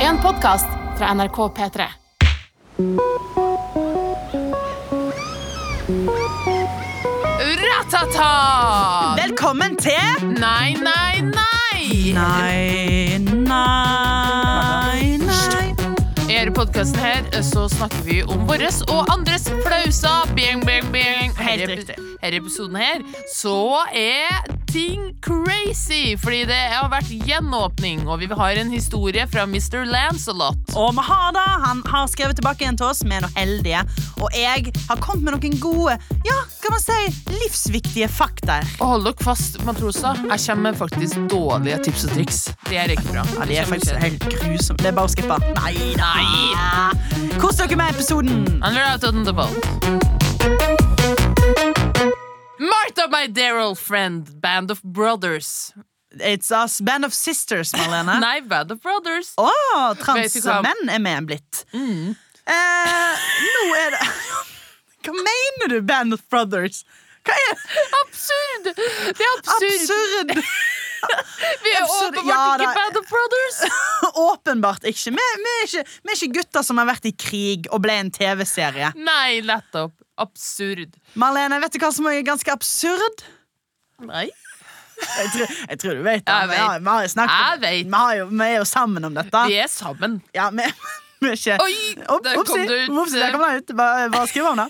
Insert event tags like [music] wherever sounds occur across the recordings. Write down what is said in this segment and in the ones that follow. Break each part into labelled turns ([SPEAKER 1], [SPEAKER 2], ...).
[SPEAKER 1] En podkast fra NRK P3. Ratata!
[SPEAKER 2] Velkommen til
[SPEAKER 1] Nei, nei, nei!
[SPEAKER 2] Nei, nei, nei.
[SPEAKER 1] I denne podkasten her så snakker vi om våres og andres flauser. Bing, bing, bing.
[SPEAKER 2] Helt
[SPEAKER 1] Her-
[SPEAKER 2] riktig.
[SPEAKER 1] Her i episoden her så er ting crazy, fordi det har vært gjenåpning, og vi har en historie fra Mr. Lancelot.
[SPEAKER 2] Og Mahada han har skrevet tilbake igjen til oss med noe heldige. Og jeg har kommet med noen gode, ja, kan man si, livsviktige fakta.
[SPEAKER 1] Og hold dere fast, matroser. Jeg kommer med faktisk dårlige tips og triks. Det er ikke bra.
[SPEAKER 2] Ja, de er faktisk helt grusomme. Det er bare å skippe. Nei da. Kos dere med episoden.
[SPEAKER 1] And we're out on the boat. Martha, my dear old friend, band of brothers.
[SPEAKER 2] It's us, Band of Sisters, Marlene.
[SPEAKER 1] Nei, band of brothers.
[SPEAKER 2] Å,
[SPEAKER 1] Vet du hva-
[SPEAKER 2] transmenn er med blitt. Eh, nå er det [laughs] Hva mener du, Band of Brothers? Hva er
[SPEAKER 1] Absurd! Det er absurd.
[SPEAKER 2] Absurd!
[SPEAKER 1] Vi er
[SPEAKER 2] absurd.
[SPEAKER 1] åpenbart
[SPEAKER 2] Ja,
[SPEAKER 1] ikke
[SPEAKER 2] da-
[SPEAKER 1] band of brothers.
[SPEAKER 2] [laughs] Åpenbart ikke. Vi, vi, er ikke. vi er ikke gutter som har vært i krig og ble en TV-serie.
[SPEAKER 1] Nei, nettopp. Absurd.
[SPEAKER 2] Marlene, vet du hva som er ganske absurd?
[SPEAKER 1] Nei.
[SPEAKER 2] Jeg tror, jeg tror du vet det.
[SPEAKER 1] Jeg
[SPEAKER 2] Vi har- Vi har jo snakket om
[SPEAKER 1] Jeg
[SPEAKER 2] det.
[SPEAKER 1] vet.
[SPEAKER 2] Vi, har jo, vi er jo sammen om dette.
[SPEAKER 1] Vi er sammen.
[SPEAKER 2] Ja, vi, vi er ikke
[SPEAKER 1] Oi, der kom
[SPEAKER 2] Opsi,
[SPEAKER 1] det ut.
[SPEAKER 2] opsi, der kom det ut. Bare, bare skriv
[SPEAKER 1] [laughs]
[SPEAKER 2] om det.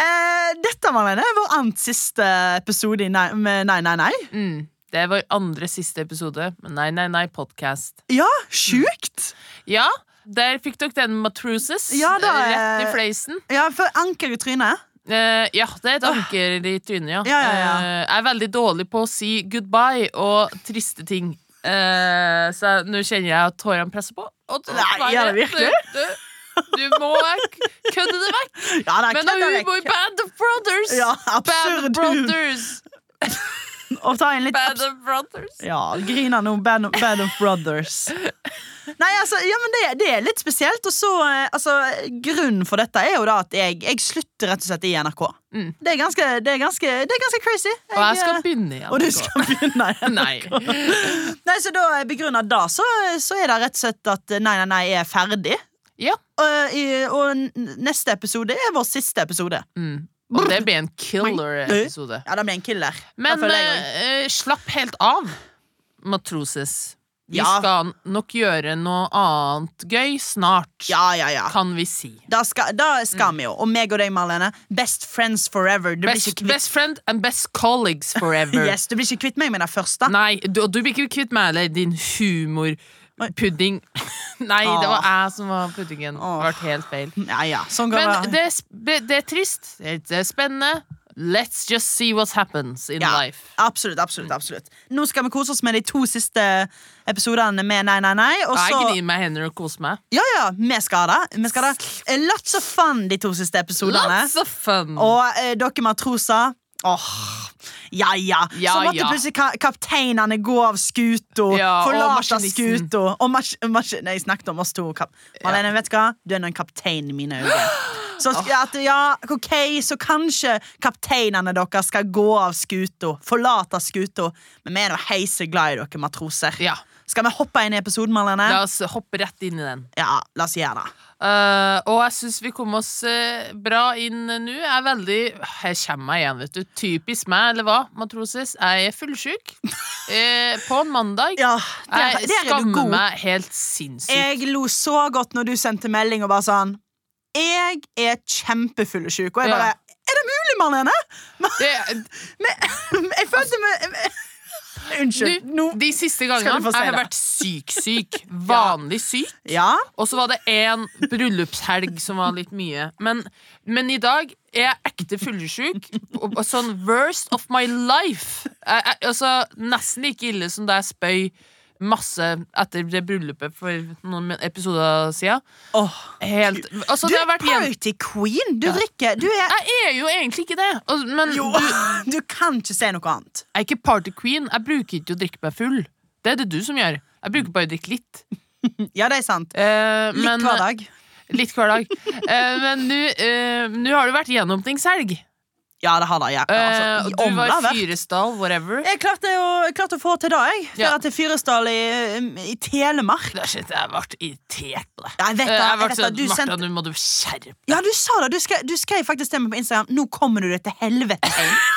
[SPEAKER 2] Eh, dette Marlene, er vår annet siste episode i nei, med Nei, nei, nei.
[SPEAKER 1] Mm. Det er vår andre siste episode med Nei, nei, nei podcast.
[SPEAKER 2] Ja, sjukt!
[SPEAKER 1] Ja, der fikk dere den matrosis
[SPEAKER 2] Ja, da,
[SPEAKER 1] eh, rett i
[SPEAKER 2] eh,
[SPEAKER 1] fleisen.
[SPEAKER 2] Ja, for anker i trynet.
[SPEAKER 1] Eh, ja, det er et anker i trynet, ja.
[SPEAKER 2] Ja, ja, ja.
[SPEAKER 1] Eh, jeg er veldig dårlig på å si goodbye og triste ting. Eh, så jeg- nå kjenner jeg at tårene presser på. Og du-
[SPEAKER 2] Nei,
[SPEAKER 1] bare-
[SPEAKER 2] gjør det virkelig?
[SPEAKER 1] Du, du, du må k- kødde det vekk.
[SPEAKER 2] Ja, det er
[SPEAKER 1] Men nå
[SPEAKER 2] kødda
[SPEAKER 1] er
[SPEAKER 2] vekk.
[SPEAKER 1] vi i Band of Brothers.
[SPEAKER 2] Ja,
[SPEAKER 1] Band of
[SPEAKER 2] absurd humor.
[SPEAKER 1] Brothers.
[SPEAKER 2] Og ta inn litt
[SPEAKER 1] Band of Brothers.
[SPEAKER 2] Ja, griner nå. Band of, band of Brothers. Nei, altså, ja, men det, det er litt spesielt. Og så, eh, altså, Grunnen for dette er jo da at jeg, jeg slutter rett og slett i NRK.
[SPEAKER 1] Mm.
[SPEAKER 2] Det, er ganske, det, er ganske, det er ganske crazy.
[SPEAKER 1] Og jeg
[SPEAKER 2] eh,
[SPEAKER 1] skal begynne igjen.
[SPEAKER 2] og du skal begynne
[SPEAKER 1] [laughs]
[SPEAKER 2] igjen. [laughs]
[SPEAKER 1] Nei.
[SPEAKER 2] Nei, så da eh, begrunnet da, så, så er det rett og slett at eh, Nei, nei, nei er ferdig.
[SPEAKER 1] Ja.
[SPEAKER 2] Og, eh, i- og n- neste episode er vår siste episode.
[SPEAKER 1] Mm. Og det blir en killer-episode.
[SPEAKER 2] Ja, det blir en killer.
[SPEAKER 1] Men
[SPEAKER 2] Da føler jeg også.
[SPEAKER 1] eh, eh, slapp helt av, matroses. Vi
[SPEAKER 2] Ja.
[SPEAKER 1] skal nok gjøre noe annet gøy snart,
[SPEAKER 2] ja, ja, ja.
[SPEAKER 1] kan vi si.
[SPEAKER 2] Da skal, da skal vi jo. Og meg og deg, Marlene. Best friends forever. Du blir
[SPEAKER 1] Best,
[SPEAKER 2] ikke kvitt,
[SPEAKER 1] best friend and best colleagues forever.
[SPEAKER 2] [laughs] yes, du blir ikke kvitt meg med det første.
[SPEAKER 1] Nei, du, og du blir ikke kvitt meg heller, din humorpudding. [laughs] Nei, det var jeg som var puddingen. Det
[SPEAKER 2] Åh.
[SPEAKER 1] ble helt feil.
[SPEAKER 2] Ja, ja. Sånn kan
[SPEAKER 1] Men
[SPEAKER 2] det
[SPEAKER 1] det, er sp- det er trist. Det er spennende. Let's just see what happens in
[SPEAKER 2] Ja.
[SPEAKER 1] life. Mm.
[SPEAKER 2] Absolutt, absolutt, absolutt. Nå skal vi kose oss med de to siste episodene med Nei, nei, nei. Og
[SPEAKER 1] Jeg
[SPEAKER 2] så
[SPEAKER 1] gnir meg i hendene og koser meg.
[SPEAKER 2] Ja, ja, vi skal ha det. Vi skal ha det. Lots of fun de to siste episodene.
[SPEAKER 1] Lots of fun!
[SPEAKER 2] Og eh, dere matroser Åh, ja ja.
[SPEAKER 1] Ja,
[SPEAKER 2] Så måtte
[SPEAKER 1] ja.
[SPEAKER 2] plutselig ka kapteinene gå av skuta,
[SPEAKER 1] Ja, og
[SPEAKER 2] forlate
[SPEAKER 1] maskinisten.
[SPEAKER 2] skuta og mas mas Nei, jeg snakket om oss to. Kap Marlene, vet du hva? Du er nå en kaptein i
[SPEAKER 1] [gasps]
[SPEAKER 2] mine øyne. Så sk- at, ja, ok, så kanskje kapteinene deres skal gå av skuta, forlate skuta. Men vi er nå heiseglad i dere matroser.
[SPEAKER 1] Ja.
[SPEAKER 2] Skal vi hoppe inn i episoden, Marlene?
[SPEAKER 1] La oss hoppe rett inn i den.
[SPEAKER 2] Ja, la oss gjøre det.
[SPEAKER 1] Eh, og jeg syns vi kom oss eh, bra inn eh, nå. Jeg er veldig Her kommer jeg igjen, vet du. Typisk meg, eller hva, matrosis. Jeg er
[SPEAKER 2] [laughs]
[SPEAKER 1] fullsjuk eh, på en mandag.
[SPEAKER 2] Ja, der,
[SPEAKER 1] jeg
[SPEAKER 2] der er du
[SPEAKER 1] skammer
[SPEAKER 2] god.
[SPEAKER 1] meg helt sinnssykt.
[SPEAKER 2] Jeg lo så godt når du sendte melding og bare sånn Jeg er kjempefullesjuk. Og jeg
[SPEAKER 1] Ja.
[SPEAKER 2] bare Er det mulig, Marlene? [laughs]
[SPEAKER 1] Det,
[SPEAKER 2] Men Jeg følte meg
[SPEAKER 1] [laughs]
[SPEAKER 2] Unnskyld.
[SPEAKER 1] du,
[SPEAKER 2] Nå
[SPEAKER 1] de siste
[SPEAKER 2] Skal
[SPEAKER 1] gangene
[SPEAKER 2] du få si
[SPEAKER 1] jeg har
[SPEAKER 2] det.
[SPEAKER 1] vært
[SPEAKER 2] [laughs]
[SPEAKER 1] syk-syk. Vanlig syk.
[SPEAKER 2] Ja?
[SPEAKER 1] Og så var det én bryllupshelg som var litt mye. Men, men i dag er jeg ekte fyllesyk. og- og Sånn worst of my life. Jeg, jeg, altså, nesten like ille som da jeg spøy masse etter det bryllupet for noen episoder siden.
[SPEAKER 2] Åh.
[SPEAKER 1] Helt, altså,
[SPEAKER 2] Du
[SPEAKER 1] det
[SPEAKER 2] er
[SPEAKER 1] har vært igjen.
[SPEAKER 2] party queen. Du drikker Du
[SPEAKER 1] [laughs]
[SPEAKER 2] er
[SPEAKER 1] Jeg er jo egentlig ikke det, og, men
[SPEAKER 2] jo.
[SPEAKER 1] Du,
[SPEAKER 2] Du kan ikke si noe annet.
[SPEAKER 1] jeg er ikke party queen. Jeg bruker ikke å drikke meg full. Det er det du som gjør. Jeg bruker bare å drikke litt.
[SPEAKER 2] Ja, det er sant.
[SPEAKER 1] Eh,
[SPEAKER 2] Litt
[SPEAKER 1] men-
[SPEAKER 2] hver dag.
[SPEAKER 1] Litt hver dag. Eh, men nå eh, nå har det vært gjenåpningshelg.
[SPEAKER 2] Ja, det har det. Ja.
[SPEAKER 1] Eh,
[SPEAKER 2] Altså,
[SPEAKER 1] og
[SPEAKER 2] i
[SPEAKER 1] du var
[SPEAKER 2] Åmla,
[SPEAKER 1] i
[SPEAKER 2] vel?
[SPEAKER 1] Fyresdal, whatever.
[SPEAKER 2] Jeg klarte, å, jeg klarte å få til det, jeg.
[SPEAKER 1] Ja.
[SPEAKER 2] Dra til Fyresdal i, i Telemark.
[SPEAKER 1] Da shit, jeg ble irritert på det.
[SPEAKER 2] Ja, jeg vet
[SPEAKER 1] Eh,
[SPEAKER 2] det.
[SPEAKER 1] Jeg
[SPEAKER 2] Jeg
[SPEAKER 1] ble
[SPEAKER 2] vet det.
[SPEAKER 1] sånn,
[SPEAKER 2] Du,
[SPEAKER 1] Martha,
[SPEAKER 2] sendte,
[SPEAKER 1] nå må du skjerpe
[SPEAKER 2] ja, du sa det. Du skrev, du skrev faktisk til meg på Instagram 'Nå kommer du deg til helvete hjem'.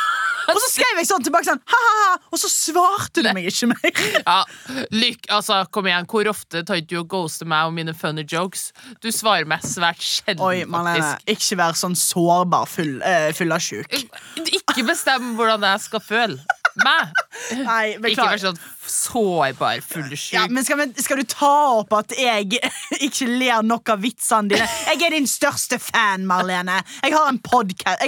[SPEAKER 2] Og så skrev jeg sånn tilbake sånn ha-ha-ha, og så svarte du meg ikke
[SPEAKER 1] [laughs]
[SPEAKER 2] mer.
[SPEAKER 1] Ja, lyk, altså, kom igjen, hvor ofte tar ikke du og ghoster meg og mine funny jokes? Du svarer meg svært sjelden,
[SPEAKER 2] Oi, Marlene,
[SPEAKER 1] faktisk.
[SPEAKER 2] ikke vær sånn sårbar full, eh, full av sjuk.
[SPEAKER 1] Ikke bestem hvordan jeg skal føle [laughs] meg.
[SPEAKER 2] Nei,
[SPEAKER 1] Ikke vær
[SPEAKER 2] beklager.
[SPEAKER 1] sånn sårbar, full
[SPEAKER 2] Ja,
[SPEAKER 1] sjuk.
[SPEAKER 2] men skal, vi, skal du ta opp at jeg [laughs] ikke ler nok av vitsene dine? Jeg er din største fan, Marlene. Jeg har en podkast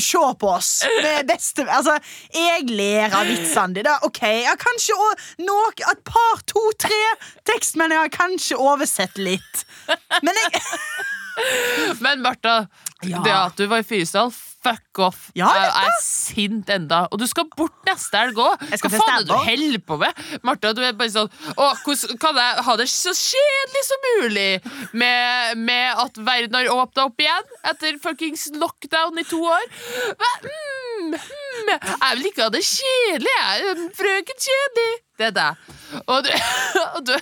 [SPEAKER 2] Se på oss. Vi er beste Altså, jeg ler av vitsene dine. OK, ja, kanskje å, nok, et par, to, tre tekstmeldinger har kanskje oversett litt. Men jeg
[SPEAKER 1] [laughs] Men Martha,
[SPEAKER 2] Ja.
[SPEAKER 1] det at du var i Fyresdal, fuck off.
[SPEAKER 2] Ja,
[SPEAKER 1] jeg
[SPEAKER 2] jeg vet
[SPEAKER 1] er sint enda. Og du skal bort neste helg òg.
[SPEAKER 2] Jeg
[SPEAKER 1] Hva
[SPEAKER 2] skal til
[SPEAKER 1] faen er det du
[SPEAKER 2] Stavanger.
[SPEAKER 1] holder på med? Martha, du er bare sånn Å, hvordan kan jeg ha det så kjedelig som mulig med, med at verden har åpna opp igjen etter fuckings lockdown i to år? Hva? Mm, mm, jeg vil ikke ha det kjedelig, jeg. Frøken Kjedelig. Det er deg. Og du, [laughs] og du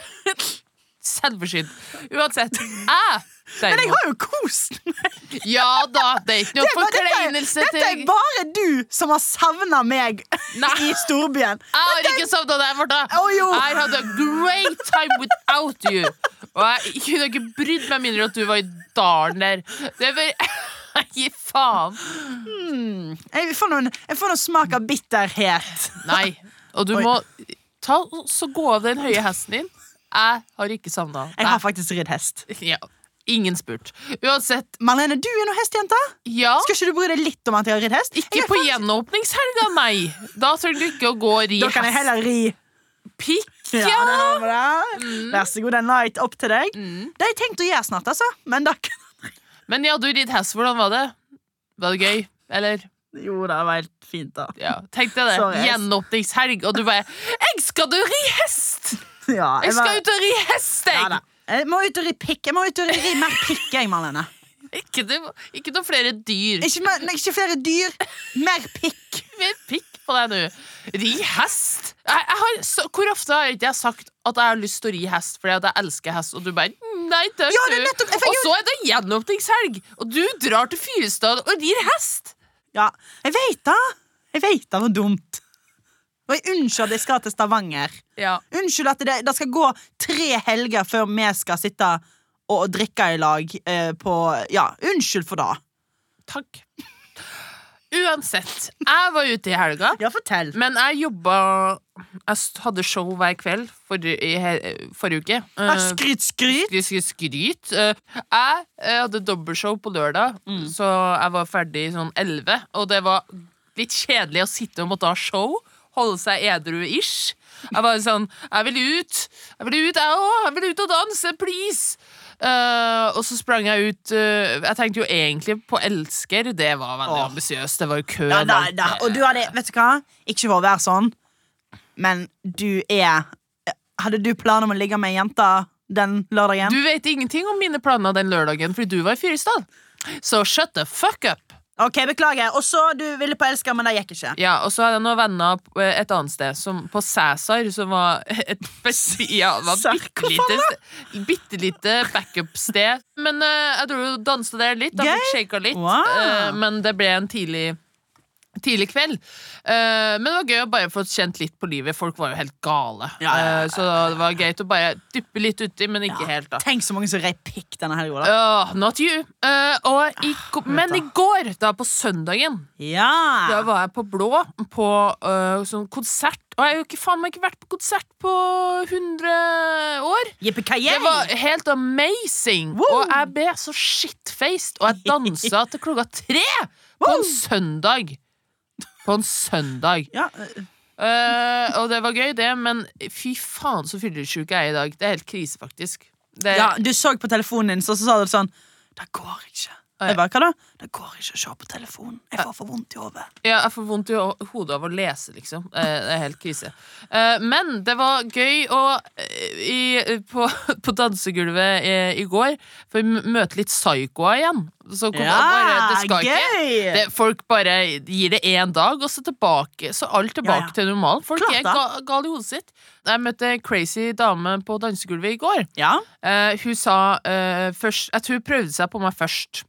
[SPEAKER 1] [laughs] Selvforsynt. Uansett. Jeg,
[SPEAKER 2] Men jeg
[SPEAKER 1] derimot
[SPEAKER 2] har jo kost meg!
[SPEAKER 1] ja da, det er ikke noe
[SPEAKER 2] Det var- dette er-
[SPEAKER 1] forkleinelse til
[SPEAKER 2] Dette er bare du som har savna meg
[SPEAKER 1] Nei.
[SPEAKER 2] i storbyen.
[SPEAKER 1] Jeg har ikke savna deg, Martha.
[SPEAKER 2] Å, jo.
[SPEAKER 1] I had a great time without you. Og jeg kunne ikke brydd meg mindre at du var i dalen der. Det var [laughs] Gi faen.
[SPEAKER 2] Jeg får noen, jeg får noen smak av bitterhet.
[SPEAKER 1] Nei. Og du
[SPEAKER 2] Oi.
[SPEAKER 1] må ta, så gå av den høye hesten din. Jeg har ikke savna
[SPEAKER 2] Jeg har faktisk ridd hest.
[SPEAKER 1] Ja. Ingen spurt. Uansett,
[SPEAKER 2] Marlene, du er nå hestejente.
[SPEAKER 1] ja.
[SPEAKER 2] Skal ikke du bry deg litt om at jeg har ridd hest?
[SPEAKER 1] Ikke på gjenåpningshelga, nei. Da trenger du ikke å gå og ri
[SPEAKER 2] Da kan jeg
[SPEAKER 1] hest.
[SPEAKER 2] heller ri.
[SPEAKER 1] Pikk,
[SPEAKER 2] Ja,
[SPEAKER 1] ja. Mm.
[SPEAKER 2] det har vi da. Vær så god, den la jeg opp til deg. Det har jeg tenkt å gjøre snart, altså. Men da
[SPEAKER 1] Men ja, du ridd hest, hvordan var det? Var det gøy, eller?
[SPEAKER 2] [laughs] Jo, det var helt fint, da.
[SPEAKER 1] Ja, tenk deg det,
[SPEAKER 2] Sorry, jeg-
[SPEAKER 1] gjenåpningshelg Og du bare, jeg skal ut og ri hest
[SPEAKER 2] Ja,
[SPEAKER 1] Jeg
[SPEAKER 2] var-
[SPEAKER 1] skal ut og ri hest,
[SPEAKER 2] Ja,
[SPEAKER 1] jeg
[SPEAKER 2] da. Jeg må ut og ri pikk. Jeg må ut og ri, ri mer pikk, jeg, Marlene.
[SPEAKER 1] Ikke, noe- ikke noe flere dyr
[SPEAKER 2] Ikke, mer- ikke flere dyr, mer pikk.
[SPEAKER 1] Mer pikk på deg nå Ri hest jeg, jeg har, så, Hvor ofte har ikke jeg sagt at jeg har lyst til å ri hest Fordi at jeg elsker hest Og du bare, «Mm, nei takk
[SPEAKER 2] Ja, det er
[SPEAKER 1] du.
[SPEAKER 2] nettopp- jeg fikk
[SPEAKER 1] Og
[SPEAKER 2] jo-
[SPEAKER 1] så er det gjenåpningshelg Og du drar til Fyrestad og rir hest
[SPEAKER 2] Ja, jeg veit det. Jeg veit det var dumt. Og jeg unnskyld at jeg skal til Stavanger.
[SPEAKER 1] Ja
[SPEAKER 2] Unnskyld at det, det skal gå tre helger før vi skal sitte og drikke i lag eh, på Ja, unnskyld for det.
[SPEAKER 1] Takk. Uansett, jeg var ute i helga,
[SPEAKER 2] Ja, fortell.
[SPEAKER 1] men jeg jobba Jeg s- hadde show hver kveld forrige, i, he- forrige uke. Eh,
[SPEAKER 2] Skryt, skryt.
[SPEAKER 1] skryt, skryt, skryt. Eh, Jeg eh, hadde dobbeltshow på lørdag, så jeg var ferdig sånn 11. Og det var litt kjedelig å sitte og måtte ha show. Holde seg edru-ish. Jeg var sånn Jeg vil ut! Jeg vil ut, jeg òg! Jeg vil ut og danse! Please! Eh, og så sprang jeg ut eh, Jeg tenkte jo egentlig på Elsker. Det var veldig
[SPEAKER 2] Åh.
[SPEAKER 1] ambisiøst. Det var jo kø.
[SPEAKER 2] Ja, da,
[SPEAKER 1] langt
[SPEAKER 2] da.
[SPEAKER 1] ned.
[SPEAKER 2] Og du hadde Vet du hva? Ikke for å være sånn, men du er Hadde du planer om å ligge med ei jente den lørdagen?
[SPEAKER 1] Du vet ingenting om mine planer den lørdagen, fordi du var i Fyresdal. Så shut the fuck up!
[SPEAKER 2] Ok, Beklager. Og så du ville på Elsker, men det gikk ikke.
[SPEAKER 1] Ja, og så hadde jeg noen venner på- eh, et annet sted, som, på Cæsar, som var [laughs] et bes- ja, det var
[SPEAKER 2] Cæsar,
[SPEAKER 1] et
[SPEAKER 2] hva
[SPEAKER 1] bittelite bittelite backup-sted. Men eh, jeg dro og dansa der litt, da fikk shaka litt,
[SPEAKER 2] Wow.
[SPEAKER 1] eh, men det ble en tidlig Tidlig kveld. Eh, men det var gøy å bare få kjent litt på livet. Folk var jo helt gale.
[SPEAKER 2] Ja, ja, ja,
[SPEAKER 1] Eh, så det var greit å bare dyppe litt uti, men ikke helt, da.
[SPEAKER 2] Tenk så mange som rei pikk denne helga. da.
[SPEAKER 1] Åh, not you. Eh, og i, go- men
[SPEAKER 2] Ah, da. Ah.
[SPEAKER 1] i går, da på søndagen, da
[SPEAKER 2] Ja.
[SPEAKER 1] var jeg på Blå, på øh, sånn konsert. Og jeg har jo ikke faen meg ikke vært på konsert på 100 år. Det var
[SPEAKER 2] Yippee-ki-yay!
[SPEAKER 1] helt amazing!
[SPEAKER 2] Woo!
[SPEAKER 1] Og jeg ble så shitfaced, og jeg dansa til klokka tre på
[SPEAKER 2] Woo!
[SPEAKER 1] en søndag. På en søndag.
[SPEAKER 2] Ja,
[SPEAKER 1] Eh, og det var gøy, det, men fy faen så fyllesyk jeg er i dag. Det er helt krise, faktisk. Det,
[SPEAKER 2] Ja, du så på telefonen din, så, så sa du sånn Det går ikke. Jeg bare, hva da? Det går ikke å se på telefonen. Jeg får for vondt i hodet.
[SPEAKER 1] Ja, jeg får vondt i ho- hodet av å lese, liksom. Eh, Det er helt krise. Eh, Men det var gøy å eh, i, på, [laughs] på dansegulvet eh, i går For vi møte litt psykoer igjen. Så kom
[SPEAKER 2] Ja,
[SPEAKER 1] bare, det skal
[SPEAKER 2] ah, gøy!
[SPEAKER 1] ikke. Det, folk bare gir det én dag, og så tilbake. Så alt tilbake
[SPEAKER 2] Ja, ja.
[SPEAKER 1] til normalen. Folk
[SPEAKER 2] Klart
[SPEAKER 1] er
[SPEAKER 2] da.
[SPEAKER 1] ga, gale i hodet sitt. Jeg møtte ei crazy dame på dansegulvet i går.
[SPEAKER 2] Ja,
[SPEAKER 1] Eh, hun sa eh, først Jeg tror hun prøvde seg på meg først.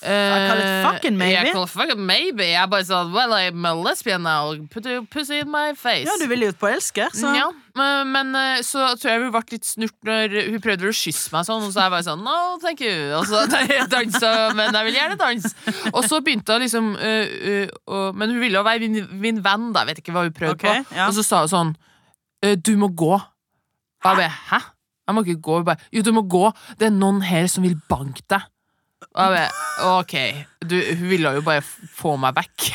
[SPEAKER 2] I call it
[SPEAKER 1] Eh,
[SPEAKER 2] fucking maybe.
[SPEAKER 1] yeah, I call it fucking maybe. Jeg bare sa Well, I'm a lesbian now. Put your pussy in my face.
[SPEAKER 2] ja du ville jo på elsker, så
[SPEAKER 1] Ja, men, men, eh, så tror jeg hun ble litt snurt når hun prøvde å kysse meg sånn, og så er jeg bare sånn No, thank you. Og så [laughs] dansa, men jeg vil gjerne danse. Og så begynte hun liksom eh, eh, å- Men hun ville jo være min, min venn, da. Jeg vet ikke hva hun prøvde
[SPEAKER 2] Ok,
[SPEAKER 1] på.
[SPEAKER 2] ja.
[SPEAKER 1] Og så sa hun sånn eh, Du må gå. Og jeg bare Hæ? Jeg må ikke gå. Hun bare Jo, du må gå. Det er noen her som vil banke deg. Og jeg bare OK. Du, hun ville jo bare f- få meg vekk.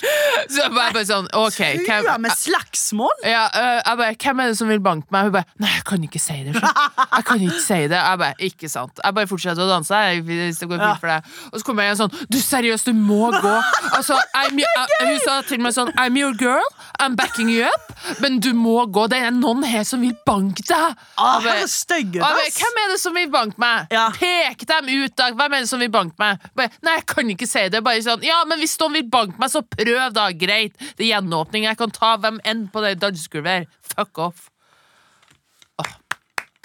[SPEAKER 1] [laughs] så jeg bare, bare sånn OK. hvem-
[SPEAKER 2] Trua med slagsmål?
[SPEAKER 1] ja, øh, jeg bare, Hvem er det som vil banke meg? Hun bare Nei, jeg kan ikke si det. skjønner du. Jeg kan ikke si det Jeg bare, ikke sant Jeg bare fortsetter å danse. Jeg, hvis det går fint for deg Og så kommer jeg igjen sånn Du, seriøst, du må gå! Altså, I'm, y- jeg, hun sa til meg sånn I'm your girl, I'm backing you up, men du må gå. Det er noen her som vil banke deg! Jeg
[SPEAKER 2] Ah,
[SPEAKER 1] bare-
[SPEAKER 2] Høres stygg
[SPEAKER 1] og jeg
[SPEAKER 2] ut,
[SPEAKER 1] bare,
[SPEAKER 2] ass.
[SPEAKER 1] Hvem er det som vil banke meg?
[SPEAKER 2] Ja.
[SPEAKER 1] Pek dem ut, da! Hvem er det som vil banke meg? Bare, Nei, jeg kan ikke si det. Bare sånn, ja, men hvis noen vil banke meg, så prøv, da! Greit. Det er gjenåpning. Jeg kan ta hvem enn på det dansegulvet her. Fuck off. Åh.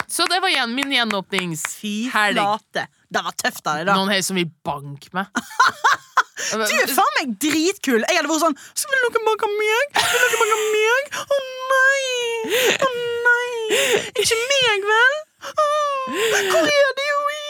[SPEAKER 1] Så det var igjen min
[SPEAKER 2] Fy
[SPEAKER 1] gjenåpningshelg.
[SPEAKER 2] flate. Det var tøft av deg, da.
[SPEAKER 1] Noen her som vil banke meg.
[SPEAKER 2] [laughs] Du er faen meg dritkul! Jeg hadde vært sånn Så vil noen banke meg? Vil noen banke meg? Å nei! Å nei! Ikke meg, vel? Åh, Hvor er det jo i?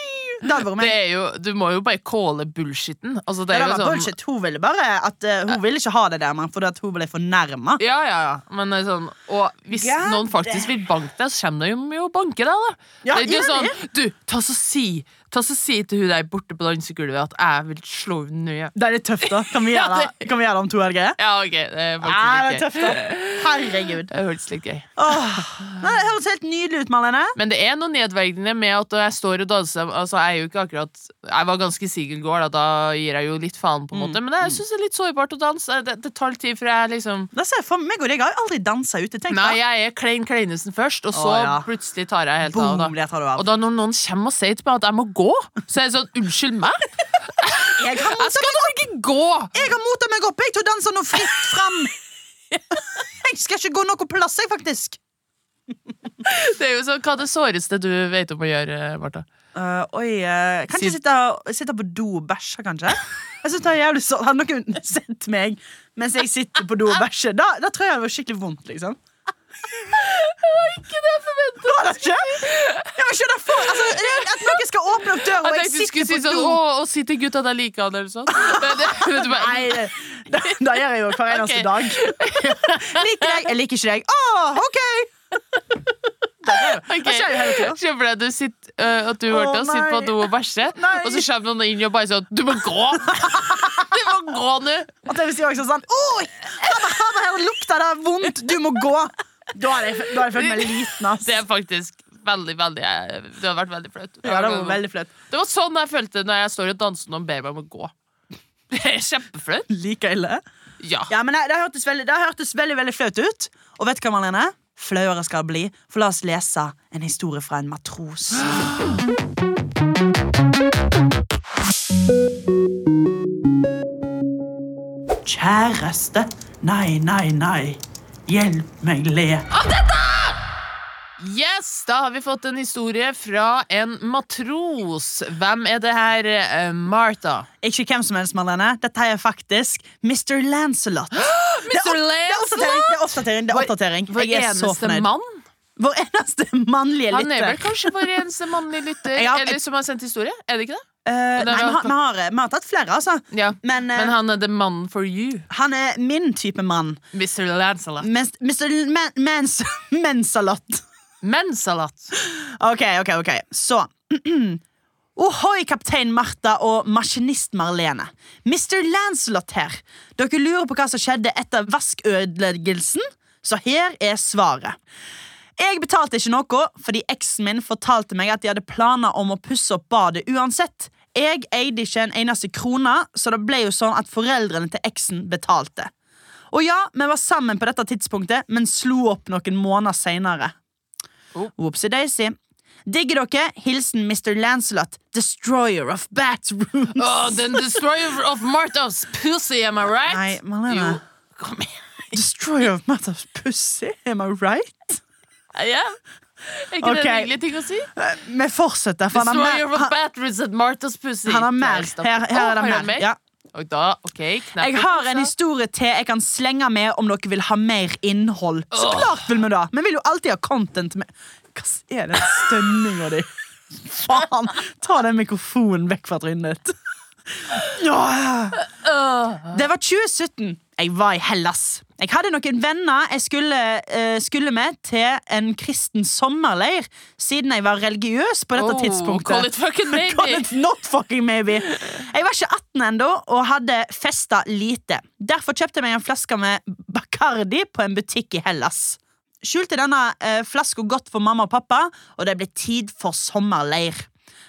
[SPEAKER 2] Det hadde vært
[SPEAKER 1] det
[SPEAKER 2] meg.
[SPEAKER 1] er jo, du må jo bare calle bullshitten. Altså, det
[SPEAKER 2] Det
[SPEAKER 1] er
[SPEAKER 2] var
[SPEAKER 1] jo sånn,
[SPEAKER 2] bullshit. Hun ville bare at eh, Hun ville ikke ha det der, men fordi at hun ble fornærma.
[SPEAKER 1] Ja, ja, ja. Men det er sånn, og hvis
[SPEAKER 2] God
[SPEAKER 1] noen faktisk vil banke deg, så kommer de jo- jo og banker deg, da.
[SPEAKER 2] Ja,
[SPEAKER 1] det er jo
[SPEAKER 2] gjør
[SPEAKER 1] sånn, du, ta så si Ta så si til hun der borte på dansegulvet at jeg vil slå henne ned.
[SPEAKER 2] Det er litt tøft, da. Kan vi
[SPEAKER 1] Ja,
[SPEAKER 2] gjøre det, kan vi gjøre det om to helger?
[SPEAKER 1] Ja, ok, det er
[SPEAKER 2] Ja,
[SPEAKER 1] faktisk litt
[SPEAKER 2] Ah, det er
[SPEAKER 1] gøy.
[SPEAKER 2] tøft, da. Herregud.
[SPEAKER 1] Det hørtes litt gøy.
[SPEAKER 2] Åh. Nei, Det høres helt nydelig ut, Marlene.
[SPEAKER 1] Men det er noe nedverdigende med at når jeg står og danser Altså, jeg er jo ikke akkurat Jeg var ganske sigel i går, da, da gir jeg jo litt faen, på en
[SPEAKER 2] Mm,
[SPEAKER 1] måte. Men jeg syns det er litt sårbart å danse. Det, det tar litt tid før jeg liksom
[SPEAKER 2] Da ser jeg for meg og deg har jo aldri dansa ute. Tenk
[SPEAKER 1] Nei,
[SPEAKER 2] da.
[SPEAKER 1] jeg er Klein Kleinesen først, og så
[SPEAKER 2] Å, ja.
[SPEAKER 1] plutselig tar jeg helt
[SPEAKER 2] Boom,
[SPEAKER 1] av. Da.
[SPEAKER 2] der tar du av.
[SPEAKER 1] Og da når noen kommer og sier til meg at jeg må gå, så er jeg sånn Unnskyld meg?
[SPEAKER 2] Jeg har
[SPEAKER 1] Jeg skal da ikke gå!
[SPEAKER 2] Jeg har mota meg opp, jeg, til å danse noe fritt fram.
[SPEAKER 1] [laughs]
[SPEAKER 2] Jeg skal ikke gå noen plass, jeg, faktisk.
[SPEAKER 1] Det er jo sånn, Hva er det såreste du vet om å gjøre, Martha?
[SPEAKER 2] Uh, oi, uh, kan
[SPEAKER 1] Sitt-
[SPEAKER 2] ikke sitte, sitte på do og bæsje, kanskje? Jeg synes det er jævlig sånn Hadde noen sett meg mens jeg sitter på do og bæsjer, da, da tror jeg det var skikkelig vondt, liksom. Det var det ikke Jeg var ikke derfor altså, det- At noen skal åpne opp døra, og
[SPEAKER 1] Jeg
[SPEAKER 2] jeg
[SPEAKER 1] tenkte du
[SPEAKER 2] sitter
[SPEAKER 1] skulle si
[SPEAKER 2] på
[SPEAKER 1] sånn
[SPEAKER 2] do
[SPEAKER 1] Å, å si til gutta at jeg liker han,
[SPEAKER 2] [laughs]
[SPEAKER 1] eller sånn. Men det, men du bare,
[SPEAKER 2] Nei, det, det, det gjør jeg jo hver eneste
[SPEAKER 1] Ok.
[SPEAKER 2] dag. Liker deg, jeg liker ikke deg. Å, OK! Det er-
[SPEAKER 1] Ok.
[SPEAKER 2] det skjer jo hele tida.
[SPEAKER 1] Se for deg du sitter, øh, at du
[SPEAKER 2] Å,
[SPEAKER 1] hørte å sitte på
[SPEAKER 2] nei.
[SPEAKER 1] do og bæsje,
[SPEAKER 2] Nei.
[SPEAKER 1] og så kommer noen inn og bare sånn Du må gå! [laughs] Du må gå nå!
[SPEAKER 2] At jeg vil si også sånn Oi! Her, var- her, var- her lukta det vondt! Du må gå! Da hadde jeg, f- da hadde jeg følt meg liten, ass.
[SPEAKER 1] Det er faktisk veldig, veldig eh, Det hadde vært veldig flaut.
[SPEAKER 2] Ja, det var veldig flaut.
[SPEAKER 1] Det var sånn jeg følte når jeg står og danser og ber meg om å gå. Det er kjempeflaut.
[SPEAKER 2] Like ille.
[SPEAKER 1] Ja.
[SPEAKER 2] Ja, men det, det, hørtes veldig, det hørtes veldig veldig flaut ut. Og vet du hva, Marlene? Flauere skal det bli, for la oss lese en historie fra en matros. Kjæreste. Nei, nei, nei. Hjelp meg le.
[SPEAKER 1] Yes, da har vi fått en historie fra en matros. Hvem er det her? eh, Martha.
[SPEAKER 2] Ikke hvem som helst, Marlene. Dette er faktisk Mr. [gasps] Lancelot. Det er
[SPEAKER 1] Mr.
[SPEAKER 2] opp- Det er oppdatering.
[SPEAKER 1] Lancelot!
[SPEAKER 2] det er oppdatering, det er oppdatering.
[SPEAKER 1] Vår
[SPEAKER 2] Jeg er så
[SPEAKER 1] eneste
[SPEAKER 2] fornøyd.
[SPEAKER 1] mann.
[SPEAKER 2] Vår eneste mannlige
[SPEAKER 1] Han er
[SPEAKER 2] lytter.
[SPEAKER 1] vel kanskje vår eneste mannlige lytter
[SPEAKER 2] [laughs] Jeg har-
[SPEAKER 1] Eller som har sendt historie? Er det ikke det?
[SPEAKER 2] Eh, nei, vi har, vi, har, vi har tatt flere, altså.
[SPEAKER 1] Ja.
[SPEAKER 2] Men, eh,
[SPEAKER 1] Men han
[SPEAKER 2] han,
[SPEAKER 1] er the man for you.
[SPEAKER 2] er min type mann.
[SPEAKER 1] Mr. Lancelot.
[SPEAKER 2] Mens, Mr. Men, mens, [laughs] mensalott.
[SPEAKER 1] Mensalat.
[SPEAKER 2] Ok, ok, ok. Så [clears throat] Ohoi, kaptein Martha og maskinist Marlene. Mr. Lancelot her. Dere lurer på hva som skjedde etter vaskødeleggelsen? Så her er svaret. Jeg betalte ikke noe fordi eksen min fortalte meg at de hadde planer om å pusse opp badet uansett. Jeg eide ikke en eneste krone, så det ble jo sånn at foreldrene til eksen betalte. Og ja, vi var sammen på dette tidspunktet, men slo opp noen måneder senere.
[SPEAKER 1] Oh.
[SPEAKER 2] Whoopsie daisy. Digger dere? Hilsen Mr. Lancelot, destroyer of bathrooms.
[SPEAKER 1] Åh, den Oh, destroyer of Marthas pussy, am I right?
[SPEAKER 2] Nei, Malene.
[SPEAKER 1] Jo, kom igjen.
[SPEAKER 2] Destroyer of Matters pussy, am I right?
[SPEAKER 1] Ja. Er ikke det
[SPEAKER 2] Ok.
[SPEAKER 1] en hyggelig ting å si?
[SPEAKER 2] Vi fortsetter, for han har
[SPEAKER 1] Destroyer
[SPEAKER 2] mer.
[SPEAKER 1] of
[SPEAKER 2] Han,
[SPEAKER 1] bathrooms at Marthas pussy.
[SPEAKER 2] han har mer.
[SPEAKER 1] Kjæresten.
[SPEAKER 2] Her, her
[SPEAKER 1] Åh,
[SPEAKER 2] er det
[SPEAKER 1] du
[SPEAKER 2] mer. Ja.
[SPEAKER 1] Og da, ok, knapp
[SPEAKER 2] Jeg
[SPEAKER 1] i
[SPEAKER 2] har en
[SPEAKER 1] posen.
[SPEAKER 2] historie til jeg kan slenge med om dere vil ha mer innhold. Så
[SPEAKER 1] Åh.
[SPEAKER 2] klart vil vi da! Vi vil jo alltid ha content med Hva s- er den stønninga di? Faen! Ta den mikrofonen vekk fra trynet ditt. Ja. Det var 2017. Jeg var i Hellas. Jeg hadde noen venner jeg skulle, eh, skulle med til en kristen sommerleir, siden jeg var religiøs på dette
[SPEAKER 1] Oh,
[SPEAKER 2] tidspunktet.
[SPEAKER 1] call it fucking maybe.
[SPEAKER 2] [laughs] Call it not fucking maybe. Jeg var ikke 18 ennå og hadde festa lite. Derfor kjøpte jeg meg en flaske med Bacardi på en butikk i Hellas. Skjulte denne eh, flaska godt for mamma og pappa, og det ble tid for sommerleir.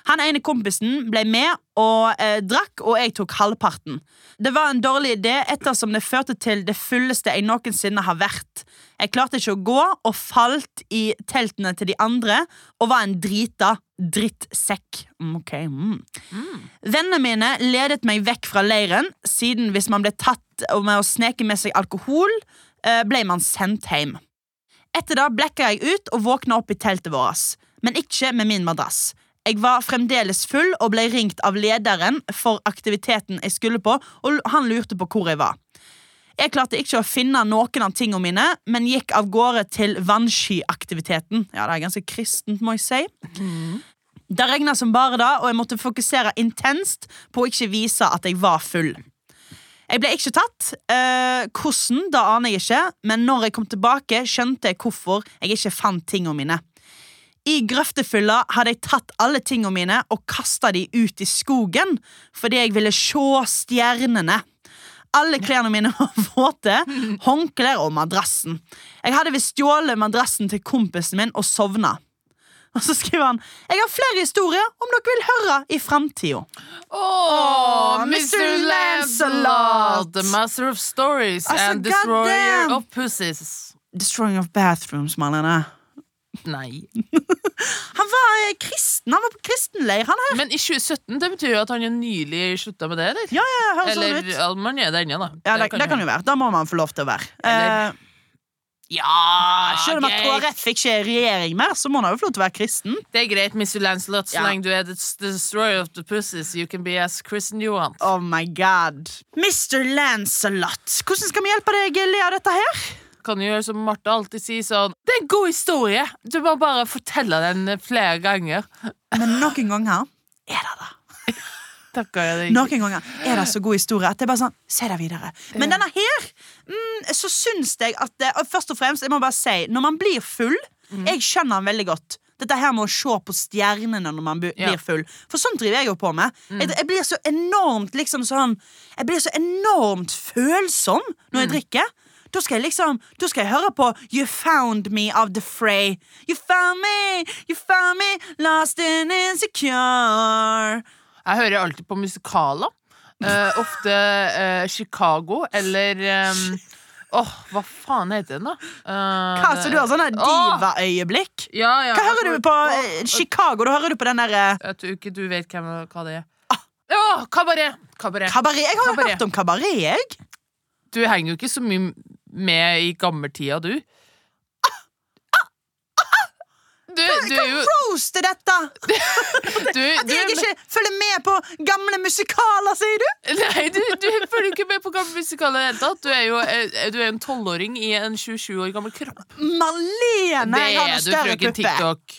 [SPEAKER 2] Han ene kompisen ble med og eh, drakk, og jeg tok halvparten. Det var en dårlig idé ettersom det førte til det fulleste jeg noensinne har vært. Jeg klarte ikke å gå og falt i teltene til de andre og var en drita drittsekk. Mm, Ok, mm. Vennene mine ledet meg vekk fra leiren, siden hvis man ble tatt og med å sneke med seg alkohol, eh, ble man sendt hjem. Etter det blekka jeg ut og våkna opp i teltet vårt, men ikke med min madrass. Jeg var fremdeles full og ble ringt av lederen for aktiviteten jeg skulle på, og han lurte på hvor jeg var. Jeg klarte ikke å finne noen av tingene mine, men gikk av gårde til vannskyaktiviteten. Ja, det er ganske kristent, må jeg si. Det regna som bare da, og jeg måtte fokusere intenst på å ikke vise at jeg var full. Jeg ble ikke tatt. Eh, hvordan, det aner jeg ikke, men når jeg kom tilbake, skjønte jeg hvorfor jeg ikke fant tingene mine. I grøftefylla hadde jeg tatt alle tingene mine og kasta de ut i skogen fordi jeg ville se stjernene. Alle klærne mine var [laughs] våte, håndklær og madrassen. Jeg hadde visst stjålet madrassen til kompisen min og sovna. Og så skriver han Jeg har flere historier om dere vil høre i framtida.
[SPEAKER 1] Åh,
[SPEAKER 2] Åh,
[SPEAKER 1] Mr.
[SPEAKER 2] Mr.
[SPEAKER 1] Lancelot!
[SPEAKER 2] Lancelot.
[SPEAKER 1] The master of stories
[SPEAKER 2] Altså,
[SPEAKER 1] and destroyer
[SPEAKER 2] goddamn.
[SPEAKER 1] of pussies.
[SPEAKER 2] Destroying of bathrooms, Marlene.
[SPEAKER 1] Nei.
[SPEAKER 2] Han var eh, kristen, han var på kristenleir, han her.
[SPEAKER 1] Men i 2017, det betyr jo at han jo nylig slutta med det, eller?
[SPEAKER 2] Ja, ja, høres
[SPEAKER 1] Eller
[SPEAKER 2] sånn ut.
[SPEAKER 1] ja, man er det ennå, da.
[SPEAKER 2] Ja, det, det kan
[SPEAKER 1] jo
[SPEAKER 2] jo være. Da må man få lov til å være.
[SPEAKER 1] Eller-
[SPEAKER 2] Eh,
[SPEAKER 1] Ja,
[SPEAKER 2] selv om at
[SPEAKER 1] greit.
[SPEAKER 2] KrF ikke er i regjering mer, så må han jo få lov til å være kristen.
[SPEAKER 1] Det er greit, Mr. Lancelot. Så
[SPEAKER 2] Ja.
[SPEAKER 1] lenge du er the the destroyer of the pussies, you can be as Christian you want.
[SPEAKER 2] Oh my god. Mr. Lancelot, hvordan skal vi hjelpe deg le av dette her?
[SPEAKER 1] Kan jo gjøre som Martha alltid sier sånn Det er en god historie! Du må bare fortelle den eh, flere ganger.
[SPEAKER 2] Men noen ganger er det det.
[SPEAKER 1] Takker jeg deg.
[SPEAKER 2] Noen ganger er det så god historie at det er bare sånn, se det videre. Men denne her, mm, så syns jeg at det, og Først og fremst, jeg må bare si, når man blir full
[SPEAKER 1] Mm.
[SPEAKER 2] Jeg skjønner den veldig godt. Dette her med å se på stjernene når man bu-
[SPEAKER 1] Ja. Mm.
[SPEAKER 2] blir full. For sånn driver jeg jo på med. Jeg, jeg blir så enormt liksom sånn Jeg blir så enormt følsom når
[SPEAKER 1] Mm.
[SPEAKER 2] jeg drikker. Da skal jeg liksom Da skal jeg høre på You Found Me av The Fray. You found me, you found me, lost and insecure.
[SPEAKER 1] Jeg hører alltid på musikaler. Eh, ofte eh, Chicago eller eh, Åh, hva faen heter den, da? Eh,
[SPEAKER 2] Hva, så du har sånne
[SPEAKER 1] åh!
[SPEAKER 2] divaøyeblikk?
[SPEAKER 1] Ja, ja.
[SPEAKER 2] Hva hører du på
[SPEAKER 1] Åh,
[SPEAKER 2] eh, Chicago? Da hører du på den der eh,
[SPEAKER 1] Jeg tror ikke du vet hvem, hva det er. Ja, kabaret! Kabaret.
[SPEAKER 2] Kabaret. Jeg har jo
[SPEAKER 1] Kabaret.
[SPEAKER 2] hørt om kabaret, jeg.
[SPEAKER 1] Du henger jo ikke så mye med i gammeltida, du. Du, du er jo
[SPEAKER 2] Roaste dette!
[SPEAKER 1] du, du,
[SPEAKER 2] At jeg
[SPEAKER 1] er med-
[SPEAKER 2] ikke følger med på gamle musikaler, sier du?
[SPEAKER 1] Nei, du, du følger jo ikke med på gamle musikaler i det hele tatt. Du er jo eh, du er jo en tolvåring i en 27 år gammel kropp.
[SPEAKER 2] Malene, jeg har
[SPEAKER 1] er
[SPEAKER 2] noe
[SPEAKER 1] du,
[SPEAKER 2] større
[SPEAKER 1] frøken
[SPEAKER 2] puppe. Å
[SPEAKER 1] TikTok.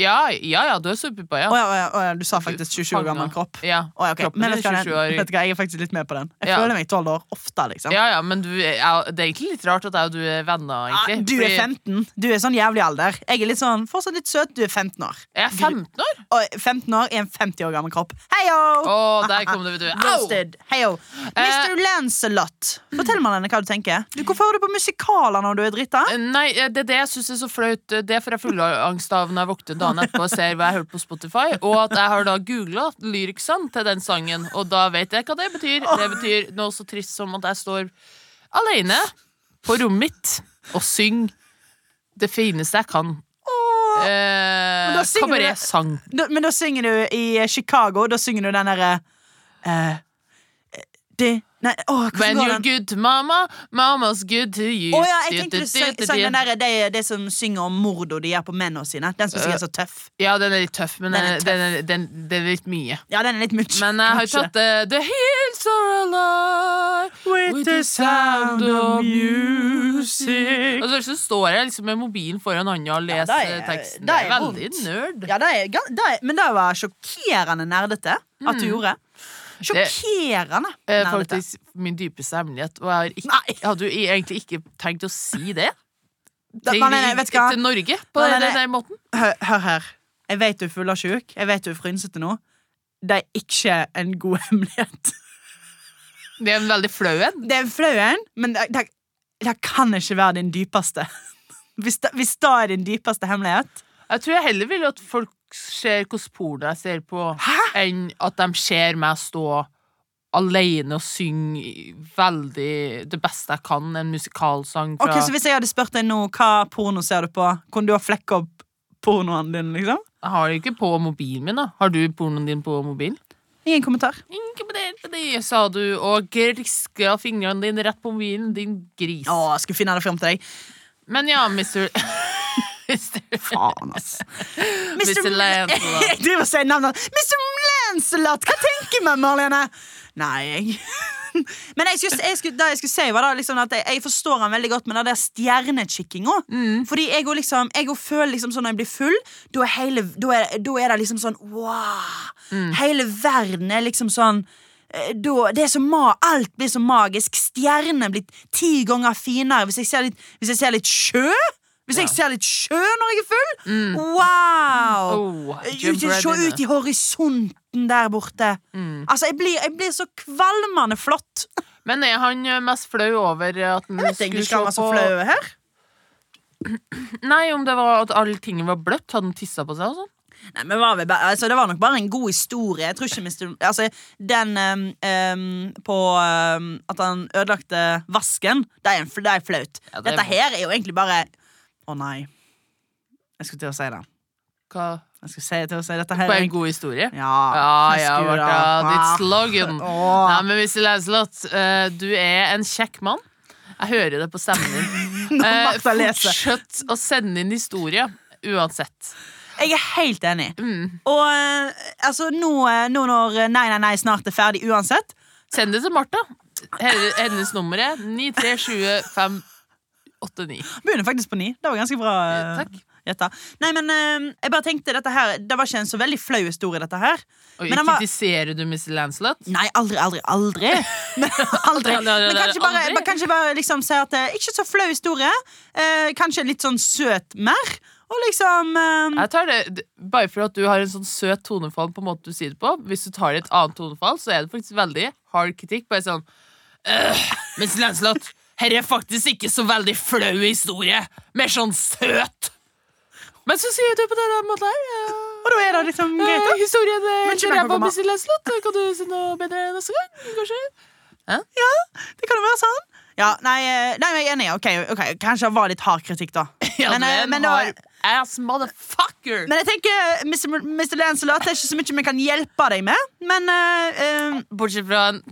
[SPEAKER 1] Ja, ja, ja, du er superpuppa, ja.
[SPEAKER 2] ja, å ja, å ja, du sa faktisk 27 år gammel kropp.
[SPEAKER 1] Ja,
[SPEAKER 2] Å ja, ok.
[SPEAKER 1] kroppen
[SPEAKER 2] Men
[SPEAKER 1] din
[SPEAKER 2] vet du, hva,
[SPEAKER 1] er
[SPEAKER 2] den,
[SPEAKER 1] 27 år.
[SPEAKER 2] vet du hva, jeg er faktisk litt med på den. Jeg
[SPEAKER 1] Ja.
[SPEAKER 2] føler meg 12 år ofte, liksom.
[SPEAKER 1] Ja, ja, men du, er- ja, det er egentlig litt rart at jeg og du er venner,
[SPEAKER 2] Ah,
[SPEAKER 1] egentlig.
[SPEAKER 2] du er
[SPEAKER 1] fordi
[SPEAKER 2] 15. Du er sånn jævlig alder. Jeg er litt sånn, fortsatt litt søt. Du er 15 år.
[SPEAKER 1] Jeg er 15 år!
[SPEAKER 2] Og 15 år i en 50 år gammel kropp. Heio!
[SPEAKER 1] Å, der kom det, vet du. Au!
[SPEAKER 2] Roasted. Heio. Mr. Lancelot. Fortell meg denne hva du tenker. Du, hvorfor hører du
[SPEAKER 1] Eh,
[SPEAKER 2] på musikaler når du er drita?
[SPEAKER 1] Nei, det er det jeg syns er så flaut. Det får jeg fullangst av når jeg våkner dagen etterpå og ser hva jeg hørte på Spotify, og at jeg har da googla lyriksene til den sangen, og da vet jeg hva det betyr. Det betyr noe så trist som at jeg står alene på rommet mitt og synger det fineste jeg kan. Eh,
[SPEAKER 2] Ah, da synger du det.
[SPEAKER 1] Kabaretsang.
[SPEAKER 2] Da, men da synger du i eh, Chicago, da synger du den derre eh, de, Nei, åh, hvordan
[SPEAKER 1] When
[SPEAKER 2] går
[SPEAKER 1] you're
[SPEAKER 2] den?
[SPEAKER 1] good to mama, mama's good to you.
[SPEAKER 2] Å ja, jeg tenkte du sang, sang den derre de, de som synger om mord og de gjør på mennene sine. Den som synger så tøff.
[SPEAKER 1] Ja, den er litt tøff, men
[SPEAKER 2] Den
[SPEAKER 1] den
[SPEAKER 2] er
[SPEAKER 1] er,
[SPEAKER 2] tøff.
[SPEAKER 1] den er, den, den er litt mye.
[SPEAKER 2] Ja, den er litt mye.
[SPEAKER 1] Men jeg har
[SPEAKER 2] kanskje.
[SPEAKER 1] tatt uh, The hills are alive
[SPEAKER 2] With the sound of music.
[SPEAKER 1] Og så, så står jeg liksom med mobilen foran hånda og
[SPEAKER 2] Ja,
[SPEAKER 1] leser
[SPEAKER 2] da er-
[SPEAKER 1] teksten.
[SPEAKER 2] da
[SPEAKER 1] Det er
[SPEAKER 2] er
[SPEAKER 1] veldig
[SPEAKER 2] vondt.
[SPEAKER 1] nerd.
[SPEAKER 2] Ja, det er, gan- det er, men det var sjokkerende nerdete at du gjorde. Sjokkerende
[SPEAKER 1] Eh,
[SPEAKER 2] nerdete.
[SPEAKER 1] faktisk min dypeste hemmelighet. Og jeg, har ikke,
[SPEAKER 2] Nei.
[SPEAKER 1] jeg hadde jo egentlig ikke tenkt å si det
[SPEAKER 2] Da-
[SPEAKER 1] til,
[SPEAKER 2] nei, nei, nei, vet du hva?
[SPEAKER 1] til Norge på
[SPEAKER 2] Nei, nei,
[SPEAKER 1] den,
[SPEAKER 2] nei.
[SPEAKER 1] den måten.
[SPEAKER 2] Hør, hør her. Jeg vet du er full av sjuk. Jeg vet du er frynsete nå. Det er ikke en god [laughs] hemmelighet.
[SPEAKER 1] Det er en veldig flau en.
[SPEAKER 2] Det er en flau en, men det, det, det kan ikke være din dypeste. [laughs] Hvis det, hvis det er din dypeste hemmelighet
[SPEAKER 1] Jeg tror jeg heller vil at folk ser hvordan porno jeg ser på,
[SPEAKER 2] Hæ?
[SPEAKER 1] enn at de ser meg stå alene og synge i- veldig det beste jeg kan, en musikalsang fra
[SPEAKER 2] Ok, Så hvis jeg hadde spurt deg nå hva porno ser du på, kunne du ha flekka opp pornoen din? liksom?
[SPEAKER 1] Jeg har det ikke på mobilen min, da. Har du pornoen din på mobilen?
[SPEAKER 2] Ingen kommentar.
[SPEAKER 1] Ikke på det, på det, sa du, og griska fingrene dine rett på mobilen, din gris.
[SPEAKER 2] Å, jeg skulle finne det frem til deg.
[SPEAKER 1] Men ja, mister [laughs]
[SPEAKER 2] Faen, ass.
[SPEAKER 1] Mr.
[SPEAKER 2] [laughs]
[SPEAKER 1] Lancelot.
[SPEAKER 2] Jeg driver og sier navnet hans. Mr. Lancelot! Hva tenker man, Marlene? Nei, jeg Men jeg skulle, jeg skulle, det jeg skulle si, var da liksom at jeg, jeg forstår han veldig godt, men det der stjernekikkinga Fordi jeg òg liksom, jeg òg føler liksom sånn når jeg blir full, da er, hele, da er, da er det liksom sånn wow! Hele verden er liksom sånn eh, da, det er så ma Alt blir så magisk. Stjernene blir ti ganger finere hvis jeg ser litt, hvis jeg ser litt sjø. Hvis jeg ser litt sjø når jeg er full. Wow! Eh,
[SPEAKER 1] Oh,
[SPEAKER 2] ut,
[SPEAKER 1] Jim
[SPEAKER 2] se
[SPEAKER 1] Breadinner.
[SPEAKER 2] ut i horisonten der borte. Altså, jeg blir, jeg blir så kvalmende flott.
[SPEAKER 1] Men er han eh, mest flau over at han skulle se på
[SPEAKER 2] her.
[SPEAKER 1] Nei, om det var at alle tingene var bløtt? Hadde han tissa på seg og sånn?
[SPEAKER 2] Nei, men var vi bare, altså, det var nok bare en god historie. Jeg tror ikke Mr. Altså, den ehm, ehm, på ehm, at han ødelagte vasken, det er, en, fl- det er flaut.
[SPEAKER 1] Ja, det er
[SPEAKER 2] Dette her er jo egentlig bare Å nei. Jeg skulle til å si det.
[SPEAKER 1] Hva?
[SPEAKER 2] Jeg skulle si, til å si dette her.
[SPEAKER 1] På
[SPEAKER 2] er-
[SPEAKER 1] en god historie?
[SPEAKER 2] Ja,
[SPEAKER 1] Ja, ja,
[SPEAKER 2] skulle
[SPEAKER 1] Martha.
[SPEAKER 2] da-
[SPEAKER 1] Ditt
[SPEAKER 2] Ah.
[SPEAKER 1] slogan.
[SPEAKER 2] Åh.
[SPEAKER 1] Nei, men Mr. Lancelot, eh, du er en kjekk mann. Jeg hører det på stemmen
[SPEAKER 2] [laughs]
[SPEAKER 1] din. Eh,
[SPEAKER 2] Martha leser.
[SPEAKER 1] fortsett å sende inn historier. Uansett. Mm.
[SPEAKER 2] Jeg er helt enig. Og eh, altså, nå, eh, nå når eh, Nei, nei, nei snart er ferdig uansett
[SPEAKER 1] Send det til Martha. Hennes, hennes nummer er 9375589.
[SPEAKER 2] Begynner faktisk på ni. Det var ganske bra. eh,
[SPEAKER 1] Eh, takk.
[SPEAKER 2] gjetta. Nei, men eh, jeg bare tenkte dette her Det var ikke en så veldig flau historie, dette her.
[SPEAKER 1] Og
[SPEAKER 2] Men han var-
[SPEAKER 1] kritiserer du Mr. Lancelot?
[SPEAKER 2] Nei, aldri, aldri, aldri. [laughs] Men,
[SPEAKER 1] Aldri,
[SPEAKER 2] aldri.
[SPEAKER 1] aldri,
[SPEAKER 2] men kanskje bare,
[SPEAKER 1] aldri.
[SPEAKER 2] bare, kanskje bare liksom si at det er ikke så flau historie. Eh, kanskje litt sånn søt mer. Og liksom eh,
[SPEAKER 1] Jeg tar det d- Bare for at du har en sånn søt tonefall på måten du sier det på. Hvis du tar det i et annet tonefall, så er det faktisk veldig hard kritikk. Bare sånn «Øh, Mr. Lancelot, her er faktisk ikke så veldig flau historie. Mer sånn søt. Men så sier du på den der måten her
[SPEAKER 2] Og da er det liksom
[SPEAKER 1] eh,
[SPEAKER 2] greit, da.
[SPEAKER 1] eh, Historien
[SPEAKER 2] Men
[SPEAKER 1] er
[SPEAKER 2] ikke meg
[SPEAKER 1] ræva,
[SPEAKER 2] på
[SPEAKER 1] Mr. Lancelot. Kan du si noe bedre neste gang? Kanskje?
[SPEAKER 2] Det kan jo være sånn. Ja, nei, eh, nei, jeg er enig. Ok, ok, Kanskje det var litt hard kritikk, [laughs] da.
[SPEAKER 1] Ja,
[SPEAKER 2] Men, eh,
[SPEAKER 1] men,
[SPEAKER 2] men det var-
[SPEAKER 1] har ass motherfucker!
[SPEAKER 2] Men jeg tenker, Mr. M- Mr. Lancelot, det er ikke så mye vi kan hjelpe deg med. Men eh, eh,
[SPEAKER 1] Bortsett fra en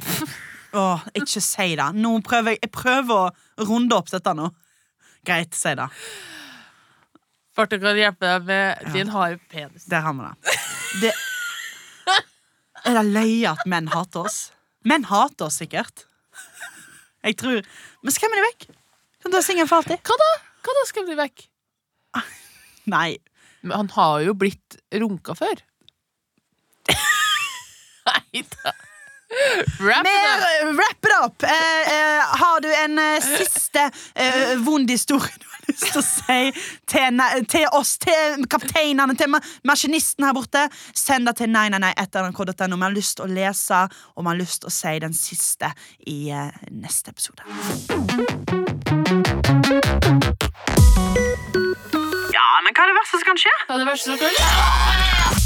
[SPEAKER 2] Åh, ikke si det. Nå prøver jeg, jeg prøver å runde opp dette nå. Greit, si det.
[SPEAKER 1] Barthe kan hjelpe deg med din harde penis.
[SPEAKER 2] Der har vi det. det. Er det løye at menn hater oss? Menn hater oss sikkert. Jeg tror Men skremmer de vekk? Kan du ha singel for alltid?
[SPEAKER 1] Hva da? Hva da skal bli vekk?
[SPEAKER 2] Nei.
[SPEAKER 1] Men han har jo blitt runka før. [laughs] Nei da. Wrap
[SPEAKER 2] Vi
[SPEAKER 1] it up.
[SPEAKER 2] eh, wrap it up. Eh, eh, har du en eh, siste eh, vond historie du har lyst til å si til, ne- til oss, til kapteinene, til ma- maskinisten her borte? Send det til nei, nei, nei, etter nrk.no. Vi har lyst til å lese, og vi har lyst til å si den siste i eh, neste episode. Ja, men hva er det verste verste som kan skje.
[SPEAKER 1] Det er det verste som kan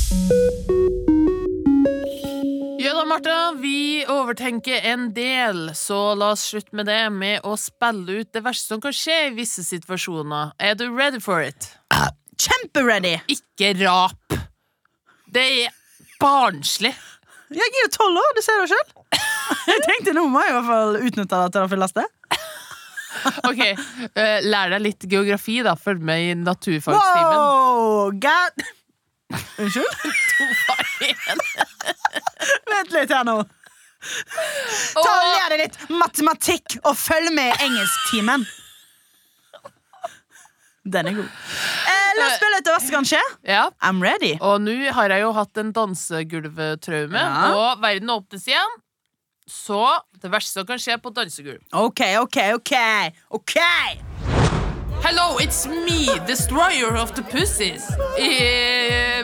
[SPEAKER 1] Ja da, Martha. Vi overtenker en del, så la oss slutte med det med å spille ut det verste som kan skje i visse situasjoner. Er du ready for it?
[SPEAKER 2] Kjempeready!
[SPEAKER 1] Ikke rap. Det er barnslig.
[SPEAKER 2] Jeg er jo tolv år, du ser det sjøl. [laughs] Jeg tenkte nå må jeg i hvert fall utnytte det til det fulleste.
[SPEAKER 1] Ok, eh, Lær deg litt geografi, da. Følg med i naturfagstimen.
[SPEAKER 2] Wow, god [laughs] Unnskyld? Vent litt her nå. Ta og
[SPEAKER 1] Og-
[SPEAKER 2] Lær deg litt matematikk og følg med i engelsktimen. Den er god. Eh, la oss spille ut det verste som kan skje.
[SPEAKER 1] Ja.
[SPEAKER 2] I'm ready.
[SPEAKER 1] Og nå har jeg jo hatt en dansegulvtraume,
[SPEAKER 2] Ja.
[SPEAKER 1] og verden åpnes igjen. Så det verste som kan skje på dansegulv.
[SPEAKER 2] OK, OK, OK. ok
[SPEAKER 1] Hello, it's me, destroyer of the pussies. Eh,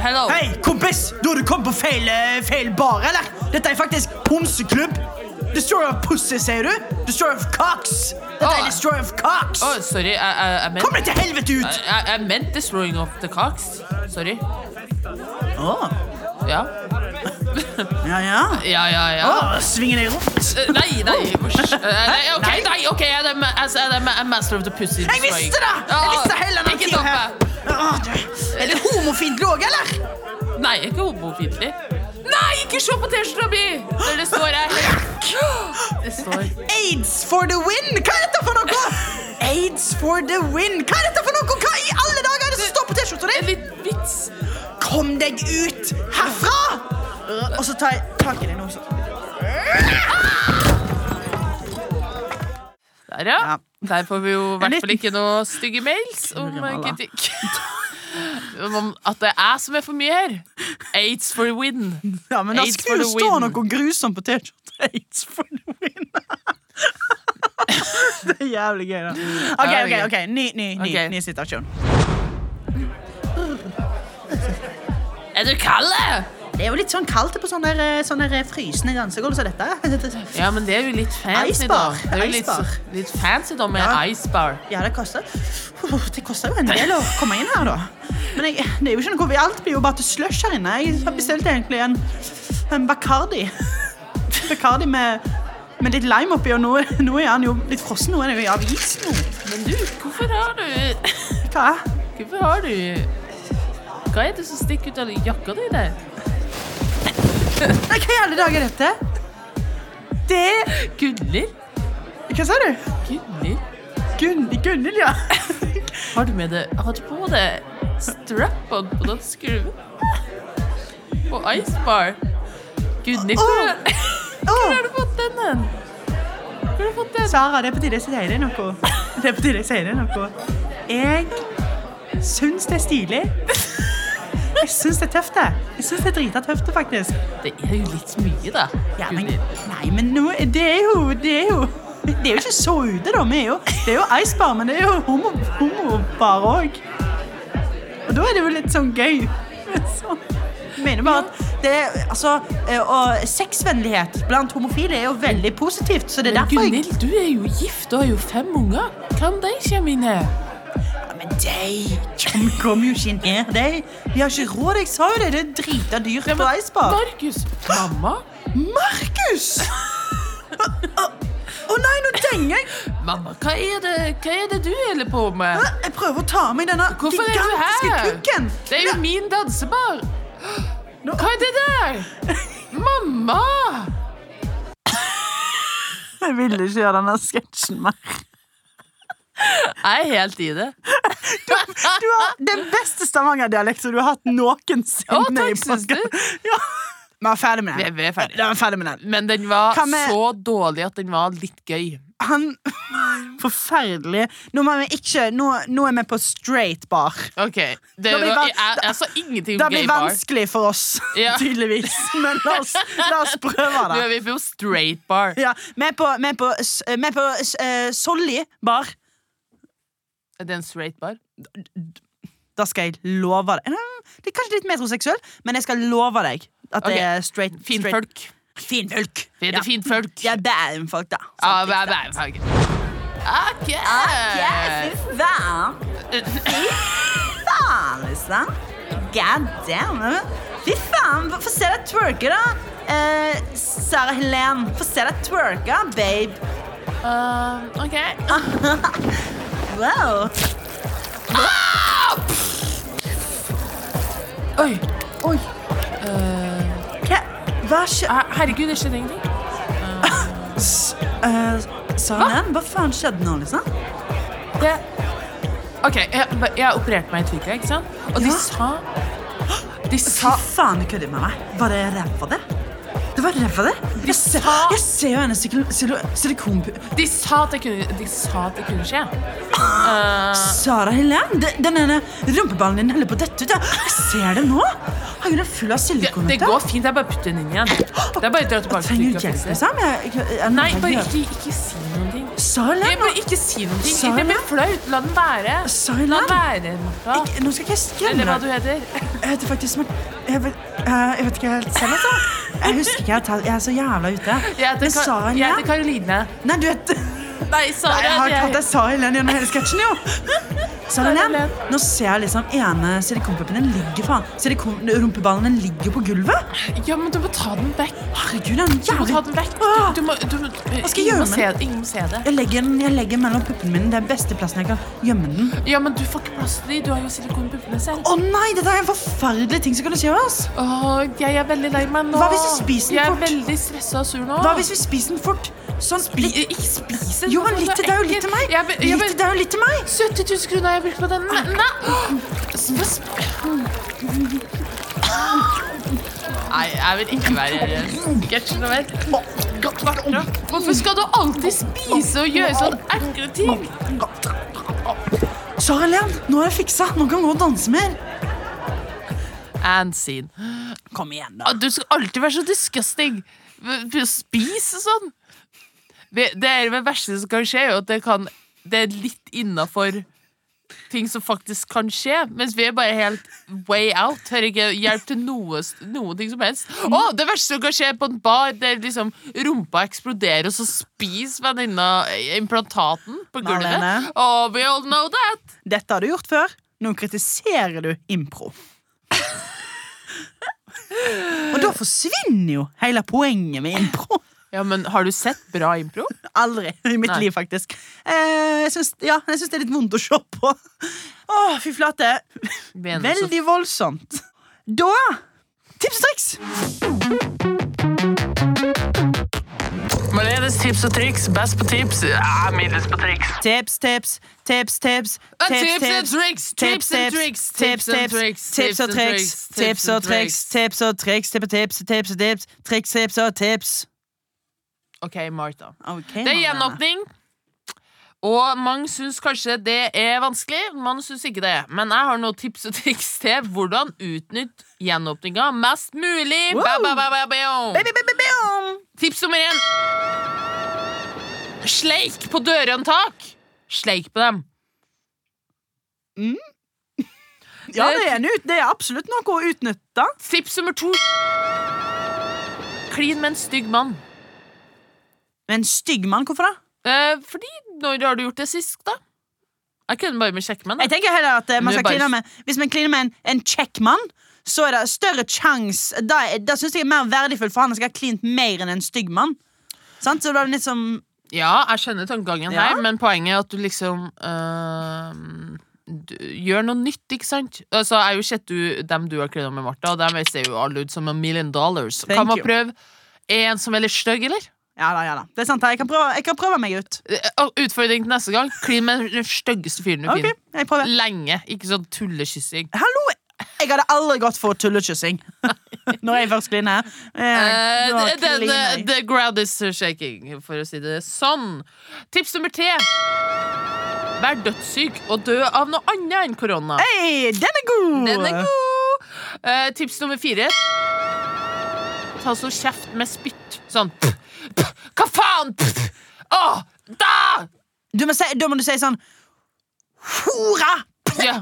[SPEAKER 1] hello.
[SPEAKER 2] Hei, kompis! Da har du kommet på feil, eh, feil bar, eller? Dette er faktisk Pomseklubb. Destroyer of Pussy, sier du? Destroyer of Cocks. Dette
[SPEAKER 1] Åh.
[SPEAKER 2] er Destroyer of Cocks.
[SPEAKER 1] Å, sorry, jeg, jeg, jeg
[SPEAKER 2] Kom
[SPEAKER 1] mente
[SPEAKER 2] deg til helvete ut!
[SPEAKER 1] jeg, jeg mente destroying of the cocks. Sorry.
[SPEAKER 2] Åh,
[SPEAKER 1] Ja,
[SPEAKER 2] Ja, ja.
[SPEAKER 1] ja, ja. ja.
[SPEAKER 2] Åh, Svinger deg rundt.
[SPEAKER 1] Eh, Nei, nei, usch. Eh, nei, ok, nei, ok, jeg er det ma- altså, jeg er det ma- jeg er master of the pussy
[SPEAKER 2] Jeg visste det! Jeg visste hele den
[SPEAKER 1] Ikke
[SPEAKER 2] tiden
[SPEAKER 1] toppe.
[SPEAKER 2] her. Åh, du- Er det homofiendtlig òg, eller?
[SPEAKER 1] Nei, jeg er ikke homofintlig. Nei, ikke se på t-skjorta mi! Der det står jeg. Det står
[SPEAKER 2] Aids for the win! Hva er dette for noe? Aids for the win! Hva er dette for noe? Hva i alle dager er det som står på T-skjorta
[SPEAKER 1] en
[SPEAKER 2] di?
[SPEAKER 1] liten vits.
[SPEAKER 2] Kom deg ut herfra! Og så tar jeg tak i deg nå. så-
[SPEAKER 1] Der, ja.
[SPEAKER 2] Ja.
[SPEAKER 1] Der får vi jo i hvert fall
[SPEAKER 2] liten-
[SPEAKER 1] ikke noe stygge mails om
[SPEAKER 2] Knurre malla.
[SPEAKER 1] kritikk. [laughs] Om at det er jeg som er for mye her. Aids for win.
[SPEAKER 2] Ja, men det
[SPEAKER 1] Aids
[SPEAKER 2] skulle jo
[SPEAKER 1] for the
[SPEAKER 2] stå
[SPEAKER 1] win.
[SPEAKER 2] noe grusomt på T-skjorta. [laughs] Aids for the win. [laughs] det er jævlig gøy, da. OK,
[SPEAKER 1] Mm. Ja, det
[SPEAKER 2] ok,
[SPEAKER 1] er gøy.
[SPEAKER 2] ok, ny, ny, ny,
[SPEAKER 1] Ok.
[SPEAKER 2] ny situasjon.
[SPEAKER 1] Er du kald? eh?
[SPEAKER 2] Det er jo litt sånn kaldt på sånne, der, eh, sånne der frysende dansegulv som dette.
[SPEAKER 1] Ja, men det er jo litt fancy, da.
[SPEAKER 2] Icebar.
[SPEAKER 1] Det er jo litt,
[SPEAKER 2] Icebar.
[SPEAKER 1] litt fancy da med
[SPEAKER 2] Ja.
[SPEAKER 1] icebar.
[SPEAKER 2] Ja, det koster Uff, Det koster jo en del å komme inn her, da. Men jeg, det er jo ikke noe vi Alt blir jo bare til slush her inne. Jeg har bestilt egentlig en, en Bacardi. Bacardi med, med litt lime oppi, og nå, nå er han jo litt frossen. Nå er han jo av is nå.
[SPEAKER 1] Men du, hvorfor har du
[SPEAKER 2] Hva?
[SPEAKER 1] Hvorfor har du Hva er det som stikker ut av jakka di der?
[SPEAKER 2] Nei, hva i alle dager er dette? Det
[SPEAKER 1] Guller?
[SPEAKER 2] Hva sa du?
[SPEAKER 1] Guller?
[SPEAKER 2] Gun- Gunhild, ja.
[SPEAKER 1] Har du med det Har du på deg strap-on på den skruen? På icebar? Gudny, hvor
[SPEAKER 2] Åh!
[SPEAKER 1] er- hvor har
[SPEAKER 2] Å,
[SPEAKER 1] du fått den hen? Hvor har du fått den?
[SPEAKER 2] Sara, det er på tide jeg sier deg noe. Det er på tide jeg sier deg noe. Jeg syns det er stilig. Jeg syns det er tøft, det. Jeg syns det er drita tøft, det, faktisk.
[SPEAKER 1] Det er jo litt mye, da.
[SPEAKER 2] Ja, men,
[SPEAKER 1] Gudny.
[SPEAKER 2] nei, men nå, det er jo Det er jo, det er jo ikke så ute, da. Vi er jo, det er jo icebar, men det er jo homo- homobar òg. Og da er det jo litt sånn gøy. Sånn. Jeg mener bare at det er, altså, eh, og sexvennlighet blant homofile er jo veldig positivt, så det er
[SPEAKER 1] Men
[SPEAKER 2] derfor jeg
[SPEAKER 1] Gunhild, du er jo gift og har jo fem unger. Kan de komme inn her?
[SPEAKER 2] Ja, Men de kom- kommer jo ikke inn her, de. De har ikke råd, jeg sa jo det. Det er drita dyrt på icebar.
[SPEAKER 1] Markus! Mamma? [laughs]
[SPEAKER 2] Markus! Å å nei, nå denger jeg.
[SPEAKER 1] Mamma, hva er det, hva er det du holder på med?
[SPEAKER 2] Hæ? Jeg prøver å ta av meg denne
[SPEAKER 1] Hvorfor er du
[SPEAKER 2] gigantiske
[SPEAKER 1] her?
[SPEAKER 2] kukken.
[SPEAKER 1] Det er jo min dansebar!
[SPEAKER 2] Nå-
[SPEAKER 1] Hva er det
[SPEAKER 2] [laughs]
[SPEAKER 1] der? Mamma!
[SPEAKER 2] Jeg ville ikke gjøre denne sketsjen mer.
[SPEAKER 1] Jeg er helt i det.
[SPEAKER 2] Du har den beste Stavanger-dialekten du har hatt noensinne.
[SPEAKER 1] Å, takk,
[SPEAKER 2] i
[SPEAKER 1] syns du?
[SPEAKER 2] podcasten. [laughs] Ja. Vi er ferdig med
[SPEAKER 1] Vi er-
[SPEAKER 2] den.
[SPEAKER 1] vi er ferdig.
[SPEAKER 2] Ja, vi er ferdig med den.
[SPEAKER 1] Men den var
[SPEAKER 2] Kan vi-
[SPEAKER 1] så dårlig at den var litt gøy.
[SPEAKER 2] Han Forferdelig. Nå, må vi ikke, nå, nå er vi på straight bar.
[SPEAKER 1] Ok, det
[SPEAKER 2] Da
[SPEAKER 1] var,
[SPEAKER 2] blir
[SPEAKER 1] jeg,
[SPEAKER 2] van-
[SPEAKER 1] jeg, sa ingenting
[SPEAKER 2] Det
[SPEAKER 1] om gay
[SPEAKER 2] blir
[SPEAKER 1] bar.
[SPEAKER 2] vanskelig for oss, [laughs]
[SPEAKER 1] Ja.
[SPEAKER 2] tydeligvis. Men la oss, la oss prøve
[SPEAKER 1] [laughs] Nå er
[SPEAKER 2] det.
[SPEAKER 1] vi på straight bar.
[SPEAKER 2] Ja, vi er på, vi er på, s- vi er på s- eh, Solli bar.
[SPEAKER 1] Er det en straight bar?
[SPEAKER 2] Da skal jeg love deg Mm, Det er kanskje litt metroseksuell, men jeg skal love deg at
[SPEAKER 1] Ok.
[SPEAKER 2] det er straight straight-
[SPEAKER 1] Finfolk.
[SPEAKER 2] Finfolk.
[SPEAKER 1] Vi heter
[SPEAKER 2] Ja.
[SPEAKER 1] finfolk.
[SPEAKER 2] Jeg er bærenfolk, da.
[SPEAKER 1] Ja, hva er bærefag? Ok.
[SPEAKER 2] Ah, Ja, fy faen.
[SPEAKER 1] Eh,
[SPEAKER 2] altså. God damn. Fy faen, få se deg twerke, da. Eh, Sara Helen, få se deg twerke, babe.
[SPEAKER 1] Eh, OK.
[SPEAKER 2] Wow.
[SPEAKER 1] Oi.
[SPEAKER 2] Oi. Hva, hva skjer?
[SPEAKER 1] her- Herregud, det skjedde ingenting.
[SPEAKER 2] Eh, Sara Helen, hva faen skjedde nå, liksom?
[SPEAKER 1] Det OK, jeg, jeg opererte meg i Twitter, ikke sant? Og de
[SPEAKER 2] Ja.
[SPEAKER 1] sa [gasps] De
[SPEAKER 2] Fy
[SPEAKER 1] sa
[SPEAKER 2] faen, du kødder med meg. Var det ræva det? Det var ræva det? Jeg, se,
[SPEAKER 1] sa-
[SPEAKER 2] jeg ser jo hennes sikl- silo- silikonpu...
[SPEAKER 1] De sa at det kunne, de sa at det kunne skje. Ah.
[SPEAKER 2] Sara Helen, de- den ene rumpeballen din holder på å dette ut. ja. Jeg ser det nå. Herregud, den er full av
[SPEAKER 1] Det,
[SPEAKER 2] silikon.
[SPEAKER 1] det
[SPEAKER 2] vet du.
[SPEAKER 1] går fint. Det er bare å putte den inn igjen. Det er bare å dra tilbake til
[SPEAKER 2] Trenger du
[SPEAKER 1] Twitter og
[SPEAKER 2] hjelp,
[SPEAKER 1] fikse det.
[SPEAKER 2] liksom? Jeg, jeg, jeg,
[SPEAKER 1] Nei,
[SPEAKER 2] jeg-
[SPEAKER 1] bare ikke, ikke si noen ting.
[SPEAKER 2] Sara
[SPEAKER 1] Jeg
[SPEAKER 2] Helen,
[SPEAKER 1] bare ikke si noen ting.
[SPEAKER 2] Sara?
[SPEAKER 1] Det blir flaut. La den være.
[SPEAKER 2] Sara?
[SPEAKER 1] La den være, Martha.
[SPEAKER 2] ikke- nå skal ikke jeg
[SPEAKER 1] Eller
[SPEAKER 2] skremme
[SPEAKER 1] hva du
[SPEAKER 2] deg.
[SPEAKER 1] heter.
[SPEAKER 2] Jeg heter faktisk Mar- jeg vet, eh, jeg vet ikke helt selv, altså. Jeg husker ikke. Jeg, tar- jeg er så jævla ute.
[SPEAKER 1] Jeg
[SPEAKER 2] Men
[SPEAKER 1] heter,
[SPEAKER 2] Sara
[SPEAKER 1] Ka- jeg heter
[SPEAKER 2] Helen
[SPEAKER 1] Karoline.
[SPEAKER 2] Nei, du vet
[SPEAKER 1] Nei, Sara.
[SPEAKER 2] Jeg har
[SPEAKER 1] jeg-
[SPEAKER 2] kalt deg Sara Helen gjennom hele sketsjen, jo. Sara Helen,
[SPEAKER 1] Helen.
[SPEAKER 2] nå ser jeg liksom ene silikonpuppen din ligger faen. Silikon, rumpeballen din ligger jo på gulvet.
[SPEAKER 1] Ja, men du må ta den vekk.
[SPEAKER 2] Herregud, den
[SPEAKER 1] Du må ta
[SPEAKER 2] jævlig
[SPEAKER 1] den vekk.
[SPEAKER 2] Ah!
[SPEAKER 1] Du, du må, du, må-
[SPEAKER 2] skal jeg
[SPEAKER 1] ingen
[SPEAKER 2] gjøre
[SPEAKER 1] må
[SPEAKER 2] med
[SPEAKER 1] se, ingen må se det.
[SPEAKER 2] jeg legger, den, jeg legger den mellom puppene mine. Det er beste plassen jeg kan gjemme den.
[SPEAKER 1] Ja, men du får ikke plass til de. Du har jo silikonpuppene selv.
[SPEAKER 2] Å nei, dette er en forferdelig ting som kan skje oss.
[SPEAKER 1] Åh, jeg er veldig lei meg nå.
[SPEAKER 2] Hva hvis du spiser den
[SPEAKER 1] Jeg er
[SPEAKER 2] fort?
[SPEAKER 1] veldig stressa og sur nå.
[SPEAKER 2] Hva hvis vi spiser den fort? Sånn,
[SPEAKER 1] I- Ikke spis den.
[SPEAKER 2] Jo, men
[SPEAKER 1] det
[SPEAKER 2] litt
[SPEAKER 1] er
[SPEAKER 2] til deg og litt til meg.
[SPEAKER 1] ekkelt. Jeg, jeg,
[SPEAKER 2] Litt til deg og litt til meg.
[SPEAKER 1] 70 000 kroner har jeg brukt på den. Nei! Nei, Nei, jeg vil ikke være sketsj noe mer. Hvorfor skal du alltid spise og gjøre sånn sånne ekle ting?
[SPEAKER 2] Sara Helen, nå er det fiksa. Nå kan vi gå og danse mer.
[SPEAKER 1] And scene.
[SPEAKER 2] Kom igjen,
[SPEAKER 1] Ah, Du skal alltid være så disgusting. V- Spis og sånn. Det det er det verste som kan skje, er jo at det, kan, det er litt innafor ting som faktisk kan skje, mens vi er bare helt way out. Hører ikke hjelp til noe, noen ting som helst. Å, det verste som kan skje på en bar, det er liksom rumpa eksploderer, og så spiser venninna eh, implantaten på gulvet.
[SPEAKER 2] Marlene.
[SPEAKER 1] Oh, we all know that.
[SPEAKER 2] Dette har du gjort før. Nå kritiserer du impro. Og da forsvinner jo hele poenget med impro.
[SPEAKER 1] Ja, men har du sett bra impro?
[SPEAKER 2] Aldri i mitt
[SPEAKER 1] Nei.
[SPEAKER 2] liv, faktisk. Eh, jeg syns ja, jeg syns det er litt vondt å se på. Å, fy flate.
[SPEAKER 1] Mener du så
[SPEAKER 2] Veldig voldsomt. Da Tips og triks!
[SPEAKER 1] Marlenes tips og triks, best på tips, ja, middels på triks.
[SPEAKER 2] Tips, tips, tips, tips.
[SPEAKER 1] Ah, tips and tricks, tips and tricks,
[SPEAKER 2] tips, tips, tips og triks, tips og triks, tips og triks, tips og tips, tips og tips, triks, tips og tips.
[SPEAKER 1] Ok, Martha.
[SPEAKER 2] Okay,
[SPEAKER 1] Det er
[SPEAKER 2] Marianne.
[SPEAKER 1] gjenåpning. Og mange syns kanskje det er vanskelig, mange syns ikke det. Men jeg har noen tips og triks til hvordan utnytte gjenåpninga mest mulig.
[SPEAKER 2] Wow.
[SPEAKER 1] Ba, ba, ba, ba, ba.
[SPEAKER 2] Baby, baby, boom!
[SPEAKER 1] Tips nummer én. Sleik på dørhåndtak. Sleik på dem.
[SPEAKER 2] Ja, det er, en ut, det er absolutt noe å utnytte.
[SPEAKER 1] Tips nummer to. Klin med en stygg mann.
[SPEAKER 2] Men stygg mann, hvorfor det?
[SPEAKER 1] Eh, fordi når har du gjort det sist, da? Jeg kunne bare med sjekkmenn.
[SPEAKER 2] Jeg tenker heller at eh,
[SPEAKER 1] Nå
[SPEAKER 2] man skal
[SPEAKER 1] bare-
[SPEAKER 2] kline med Hvis man kliner med en, en kjekk mann, så er det større sjans Da, er- da syns jeg det er mer verdifullt, for han skal ha klint mer enn en stygg mann. Sant? Så da er det litt som
[SPEAKER 1] Ja, jeg skjønner tankegangen
[SPEAKER 2] Ja.
[SPEAKER 1] her, men poenget er at du liksom eh, du, Gjør noe nytt, ikke sant? Altså, jeg har jo sett du, dem du har klina med, Martha, og dem ser jo alle ut som a million dollars.
[SPEAKER 2] Thank
[SPEAKER 1] kan man
[SPEAKER 2] you.
[SPEAKER 1] prøve en som er litt stygg, eller?
[SPEAKER 2] Ja da, ja da. Det er sant, jeg kan prøve, jeg kan prøve meg ut.
[SPEAKER 1] Eh, og Utfordring til neste gang. Klin med den styggeste fyren du
[SPEAKER 2] Ok,
[SPEAKER 1] finner.
[SPEAKER 2] jeg prøver
[SPEAKER 1] Lenge. Ikke sånn tullekyssing.
[SPEAKER 2] Hallo! Jeg hadde aldri gått for [laughs] tullekyssing. Når jeg først kliner. Eh,
[SPEAKER 1] Eh,
[SPEAKER 2] da
[SPEAKER 1] the,
[SPEAKER 2] kliner
[SPEAKER 1] the,
[SPEAKER 2] jeg.
[SPEAKER 1] the ground is shaking, for å si det sånn. Tips nummer tre. Vær dødssyk og dø av noe annet enn korona.
[SPEAKER 2] Hei, den er god!
[SPEAKER 1] Den er god! Eh, tips nummer fire. Ta så kjeft med spytt. Sånn. pff, pff, Hva faen?! Pff. Åh, da!
[SPEAKER 2] Du må si, da må du si sånn Hora!
[SPEAKER 1] Ja.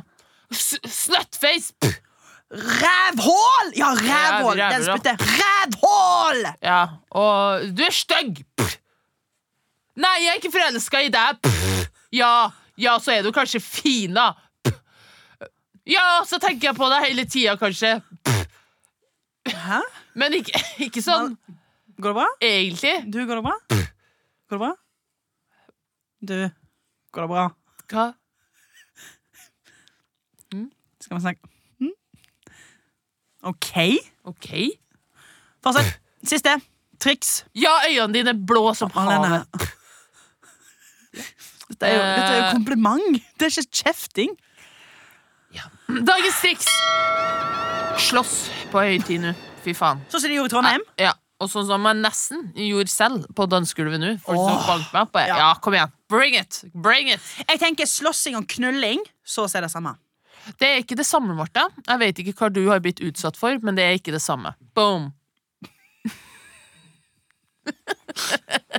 [SPEAKER 1] S- Slutface! Pff.
[SPEAKER 2] Rævhål! Ja, rævhål!
[SPEAKER 1] Ja,
[SPEAKER 2] Den
[SPEAKER 1] rævhål.
[SPEAKER 2] spytter. Rævhål!
[SPEAKER 1] Ja. Og du er stygg! Pff. Nei, jeg er ikke forelska i deg! Pff. Ja, ja, så er du kanskje fin, da. Pff. Ja, så tenker jeg på det hele tida, kanskje.
[SPEAKER 2] Hæ?
[SPEAKER 1] Men ikke, [laughs] ikke sånn
[SPEAKER 2] Går det bra?
[SPEAKER 1] egentlig.
[SPEAKER 2] Du, går det bra? Går det bra? Du, går det bra?
[SPEAKER 1] Hva?
[SPEAKER 2] Skal vi snakke Mm. OK.
[SPEAKER 1] OK?
[SPEAKER 2] Fortsett. Siste. Triks.
[SPEAKER 1] Ja, øynene dine er blå som
[SPEAKER 2] Alene.
[SPEAKER 1] havet.
[SPEAKER 2] Dette er jo, dette er jo
[SPEAKER 1] Eh.
[SPEAKER 2] kompliment. Det er ikke kjefting.
[SPEAKER 1] Dagens triks! Slåss på høytid nå. Fy faen.
[SPEAKER 2] Sånn som de gjorde i Trondheim.
[SPEAKER 1] Ja, og sånn som jeg nesten gjorde selv på dansegulvet nå. Folk som
[SPEAKER 2] Åh.
[SPEAKER 1] bank meg på
[SPEAKER 2] Ja.
[SPEAKER 1] ja. ja, kom igjen. Bring it! Bring it!
[SPEAKER 2] Jeg tenker slåssing og knulling. Så er det samme.
[SPEAKER 1] Det er ikke det samme, Martha. Jeg vet ikke hva du har blitt utsatt for, men det er ikke det samme. Boom.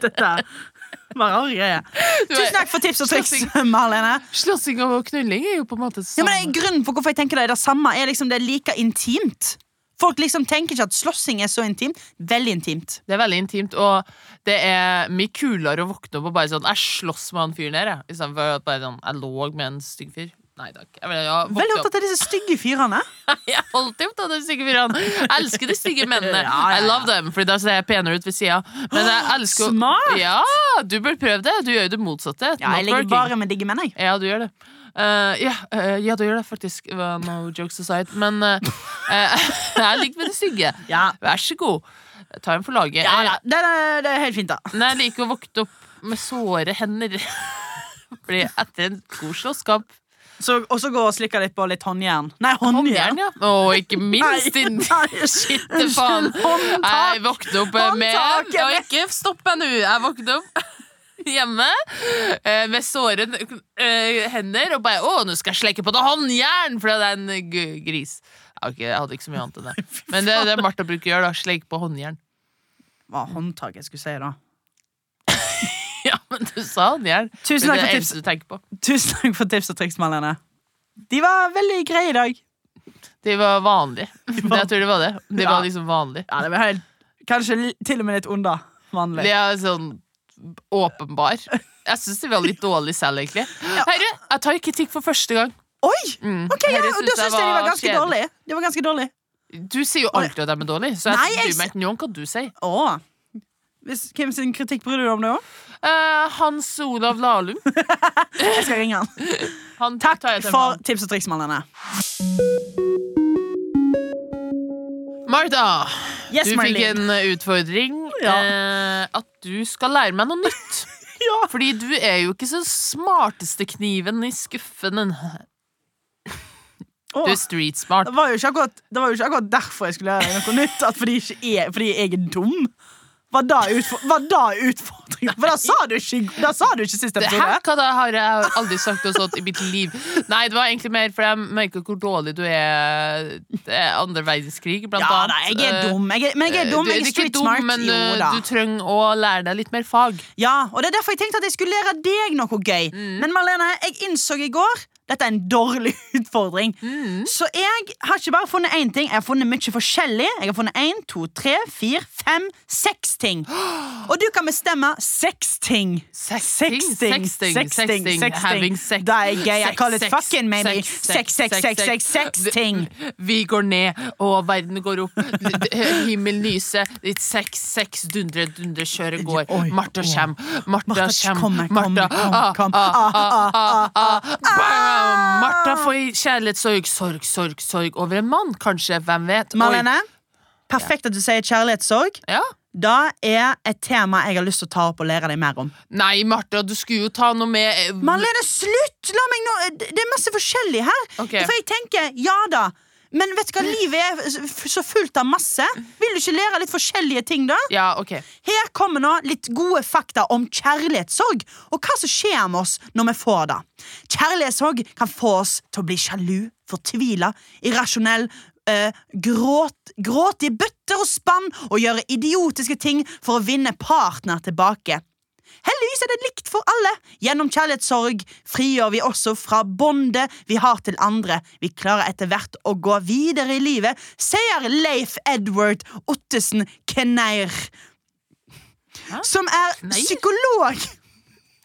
[SPEAKER 2] Dette var rar greie. Tusen takk for tips og triks, [laughs] Marlene.
[SPEAKER 1] Slåssing og knulling er jo på en måte det
[SPEAKER 2] Ja,
[SPEAKER 1] samme.
[SPEAKER 2] men det er Grunnen for hvorfor jeg tenker det er det samme, er liksom det er like intimt. Folk liksom tenker ikke at slåssing er så intimt. Veldig intimt.
[SPEAKER 1] Det er veldig intimt, og det er mye kulere å våkne opp og bare sånn Jeg slåss med han fyren der, jeg. Istedenfor at bare sånn Jeg lå med en stygg fyr. Nei takk. Jeg, vil- ja, våkne
[SPEAKER 2] Veldig
[SPEAKER 1] opp.
[SPEAKER 2] opptatt av disse stygge fyrene.
[SPEAKER 1] [laughs] Jeg er alltid opptatt av de stygge fyrene. Jeg elsker de stygge mennene.
[SPEAKER 2] [laughs] Ja, ja, ja.
[SPEAKER 1] I love them, for da ser jeg penere ut ved sida. Men jeg elsker å-
[SPEAKER 2] [gasps] Smart!
[SPEAKER 1] Ja, du bør prøve det. Du gjør jo det motsatte.
[SPEAKER 2] Ja, jeg ligger
[SPEAKER 1] Networking.
[SPEAKER 2] bare med digge menn, jeg.
[SPEAKER 1] Ja, du gjør det. Eh, ja, eh, ja, du gjør det faktisk. Well, no jokes aside. Men eh, eh, [laughs] jeg ligger med de stygge.
[SPEAKER 2] Ja.
[SPEAKER 1] Vær så god. Ta en for laget.
[SPEAKER 2] Ja,
[SPEAKER 1] Jeg-
[SPEAKER 2] da, det, er- det er helt fint, da.
[SPEAKER 1] Nei, jeg liker å våkne opp med såre hender. [laughs] Fordi etter en god slåsskamp
[SPEAKER 2] Så, og så gå og slikke litt på litt håndjern. Nei, håndjern.
[SPEAKER 1] Gjerne, ja. Og ikke minst
[SPEAKER 2] [laughs]
[SPEAKER 1] din
[SPEAKER 2] shit,
[SPEAKER 1] til faen. Jeg
[SPEAKER 2] Håndtak.
[SPEAKER 1] våkner opp eh, med
[SPEAKER 2] Håndtaket
[SPEAKER 1] Og
[SPEAKER 2] med-
[SPEAKER 1] ikke stopp meg nå. Jeg våkner opp [laughs] hjemme eh, med såre eh, hender og bare 'Å, nå skal jeg slekke på det håndjern!' Fordi det er en g- gris. Jeg, har ikke, jeg hadde ikke så mye annet enn
[SPEAKER 2] [laughs]
[SPEAKER 1] det. Men det er det Martha bruker å gjøre. da Sleike på håndjern. [laughs]
[SPEAKER 2] Hva håndtak jeg skulle si, da.
[SPEAKER 1] Ja, men du sa håndjern.
[SPEAKER 2] Tusen
[SPEAKER 1] Men
[SPEAKER 2] takk
[SPEAKER 1] det er
[SPEAKER 2] for
[SPEAKER 1] det
[SPEAKER 2] tips.
[SPEAKER 1] eneste du tenker på.
[SPEAKER 2] Tusen takk for tips og triks, Marlene. De var veldig greie i dag.
[SPEAKER 1] De var
[SPEAKER 2] [laughs]
[SPEAKER 1] vanlige.
[SPEAKER 2] var-
[SPEAKER 1] Jeg tror det var det. De
[SPEAKER 2] Ja.
[SPEAKER 1] var liksom vanlige.
[SPEAKER 2] Ja, det var helt, Kanskje li- til og med litt under vanlig.
[SPEAKER 1] De er sånn åpenbar. Jeg syns de var litt dårlige selv, egentlig. Herre, jeg tar kritikk for første gang.
[SPEAKER 2] Oi!
[SPEAKER 1] Mm.
[SPEAKER 2] Ok, ja,
[SPEAKER 1] Herre
[SPEAKER 2] og
[SPEAKER 1] synes
[SPEAKER 2] Da syns jeg de var ganske
[SPEAKER 1] kjedelig.
[SPEAKER 2] dårlige. De var ganske dårlige.
[SPEAKER 1] Du sier jo alltid at de er dårlige, så jeg
[SPEAKER 2] Nei,
[SPEAKER 1] Nei,
[SPEAKER 2] jeg
[SPEAKER 1] bryr meg ikke noe om hva du sier.
[SPEAKER 2] Åh. Hvis, hvem sin kritikk bryr du deg om det òg?
[SPEAKER 1] Eh, Hans Olav Lahlum.
[SPEAKER 2] Jeg skal ringe han.
[SPEAKER 1] Han
[SPEAKER 2] Takk
[SPEAKER 1] tar jeg til
[SPEAKER 2] for
[SPEAKER 1] meg.
[SPEAKER 2] tips og triks, Marlene.
[SPEAKER 1] Martha,
[SPEAKER 2] Yes,
[SPEAKER 1] du fikk
[SPEAKER 2] Marlene.
[SPEAKER 1] en eh, utfordring.
[SPEAKER 2] Ja.
[SPEAKER 1] eh, at du skal lære meg noe nytt.
[SPEAKER 2] [laughs] Ja.
[SPEAKER 1] Fordi du er jo ikke så smarteste kniven i skuffen.
[SPEAKER 2] Åh.
[SPEAKER 1] Du er street smart.
[SPEAKER 2] Det var jo ikke akkurat, det var jo ikke akkurat derfor jeg skulle lære noe nytt. At fordi, ikke jeg, fordi jeg er dum. Var da, utfor, var da utfordringen? For da sa du ikke, da sa du ikke sist
[SPEAKER 1] Det her
[SPEAKER 2] episode.
[SPEAKER 1] hva da har jeg aldri sagt noe sånt i mitt liv. Nei, det var egentlig mer fordi jeg merker hvor dårlig du er Det er andre verdenskrig, blant
[SPEAKER 2] Ja da,
[SPEAKER 1] annet.
[SPEAKER 2] jeg er
[SPEAKER 1] Eh,
[SPEAKER 2] dum. Jeg er, men jeg er dum,
[SPEAKER 1] du-
[SPEAKER 2] jeg
[SPEAKER 1] du
[SPEAKER 2] er
[SPEAKER 1] ikke
[SPEAKER 2] street
[SPEAKER 1] dum,
[SPEAKER 2] smart.
[SPEAKER 1] Men
[SPEAKER 2] Jo
[SPEAKER 1] eh,
[SPEAKER 2] da.
[SPEAKER 1] du trenger å lære deg litt mer fag.
[SPEAKER 2] Ja, og det er derfor jeg tenkte at jeg skulle lære deg noe gøy.
[SPEAKER 1] Mm.
[SPEAKER 2] Men Marlene, jeg innså i går dette er en dårlig [laughs] utfordring.
[SPEAKER 1] Mm.
[SPEAKER 2] Så jeg har ikke bare funnet én ting. Jeg har funnet mye forskjellig. Jeg har funnet én, to, tre, fire, fem, seks ting.
[SPEAKER 1] [gasps]
[SPEAKER 2] Og du kan bestemme seks ting.
[SPEAKER 1] Sexting, sexting, sexting, having sex.
[SPEAKER 2] Det er gøy. I
[SPEAKER 1] Sex,
[SPEAKER 2] call it
[SPEAKER 1] sex,
[SPEAKER 2] fucking, maybe.
[SPEAKER 1] sex,
[SPEAKER 2] Sex, sex, sex, sex, sex, ting.
[SPEAKER 1] Vi går ned, og verden går opp. D- d- Himmelen lyser. Litt sex, sex, dundre, dundre, kjøret går.
[SPEAKER 2] Oi,
[SPEAKER 1] Martha
[SPEAKER 2] oi.
[SPEAKER 1] kjem. Martha
[SPEAKER 2] Martha
[SPEAKER 1] kjem.
[SPEAKER 2] kommer,
[SPEAKER 1] Martha
[SPEAKER 2] kommer, kommer,
[SPEAKER 1] ah,
[SPEAKER 2] kommer.
[SPEAKER 1] ah, ah, ah, ah.
[SPEAKER 2] ah.
[SPEAKER 1] Bam! Martha får kjærlighetssorg, sorg, sorg, sorg over en mann, kanskje. Hvem vet? Oi.
[SPEAKER 2] Marlene, perfekt at du sier kjærlighetssorg.
[SPEAKER 1] Ja.
[SPEAKER 2] Da er et tema jeg har lyst til å ta opp og lære deg mer om.
[SPEAKER 1] Nei, Martha, du skulle jo ta noe med eh,
[SPEAKER 2] Marlene, slutt! La meg nå, det er masse forskjellig her.
[SPEAKER 1] Ok.
[SPEAKER 2] For jeg tenker, ja da. Men vet du hva, livet er f- så fullt av masse. Vil du ikke lære litt forskjellige ting, da?
[SPEAKER 1] Ja, ok.
[SPEAKER 2] Her kommer nå litt gode fakta om kjærlighetssorg, og hva som skjer med oss når vi får det. Kjærlighetssorg kan få oss til å bli sjalu, fortvila, irrasjonell, eh, gråt, gråte i bøtter og spann og gjøre idiotiske ting for å vinne partner tilbake. Heldigvis er det likt for alle. Gjennom kjærlighetssorg frigjør vi også fra båndet vi har til andre. Vi klarer etter hvert å gå videre i livet, sier Leif Edward Ottesen Kenneir, som er
[SPEAKER 1] Kneir?
[SPEAKER 2] psykolog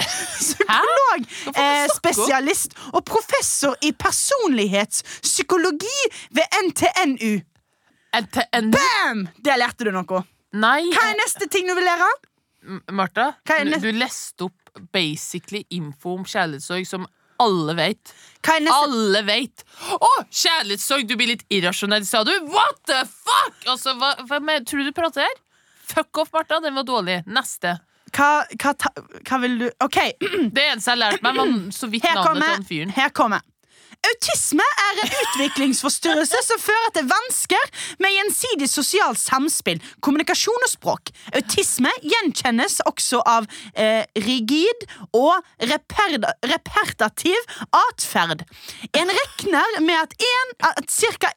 [SPEAKER 2] Psykolog,
[SPEAKER 1] Hva faen
[SPEAKER 2] eh,
[SPEAKER 1] snakker du om?
[SPEAKER 2] spesialist og professor i personlighetspsykologi ved NTNU.
[SPEAKER 1] En te- en-
[SPEAKER 2] Bam! Der lærte du noe.
[SPEAKER 1] Nei,
[SPEAKER 2] Hva er neste ting du vil lære?
[SPEAKER 1] M- Martha.
[SPEAKER 2] Hva er
[SPEAKER 1] du-
[SPEAKER 2] nest-
[SPEAKER 1] Du leste opp basically info om kjærlighetssorg som alle vet.
[SPEAKER 2] Hva er neste?
[SPEAKER 1] Alle vet! Å, kjærlighetssorg! Du blir litt irrasjonell, sa du. What the fuck?! Altså, hva, hva med, tror du du prater her? Fuck off, Martha. Den var dårlig. Neste.
[SPEAKER 2] Hva, hva, ta, hva vil du OK,
[SPEAKER 1] Det eneste jeg lærte meg, var så vidt
[SPEAKER 2] Hmm. her
[SPEAKER 1] navnet til
[SPEAKER 2] kommer,
[SPEAKER 1] han fyren.
[SPEAKER 2] her kommer. Autisme er en utviklingsforstyrrelse som fører til vansker med gjensidig sosialt samspill, kommunikasjon og språk. Autisme gjenkjennes også av eh, rigid og reper repertativ atferd. En regner med at, en, at ca.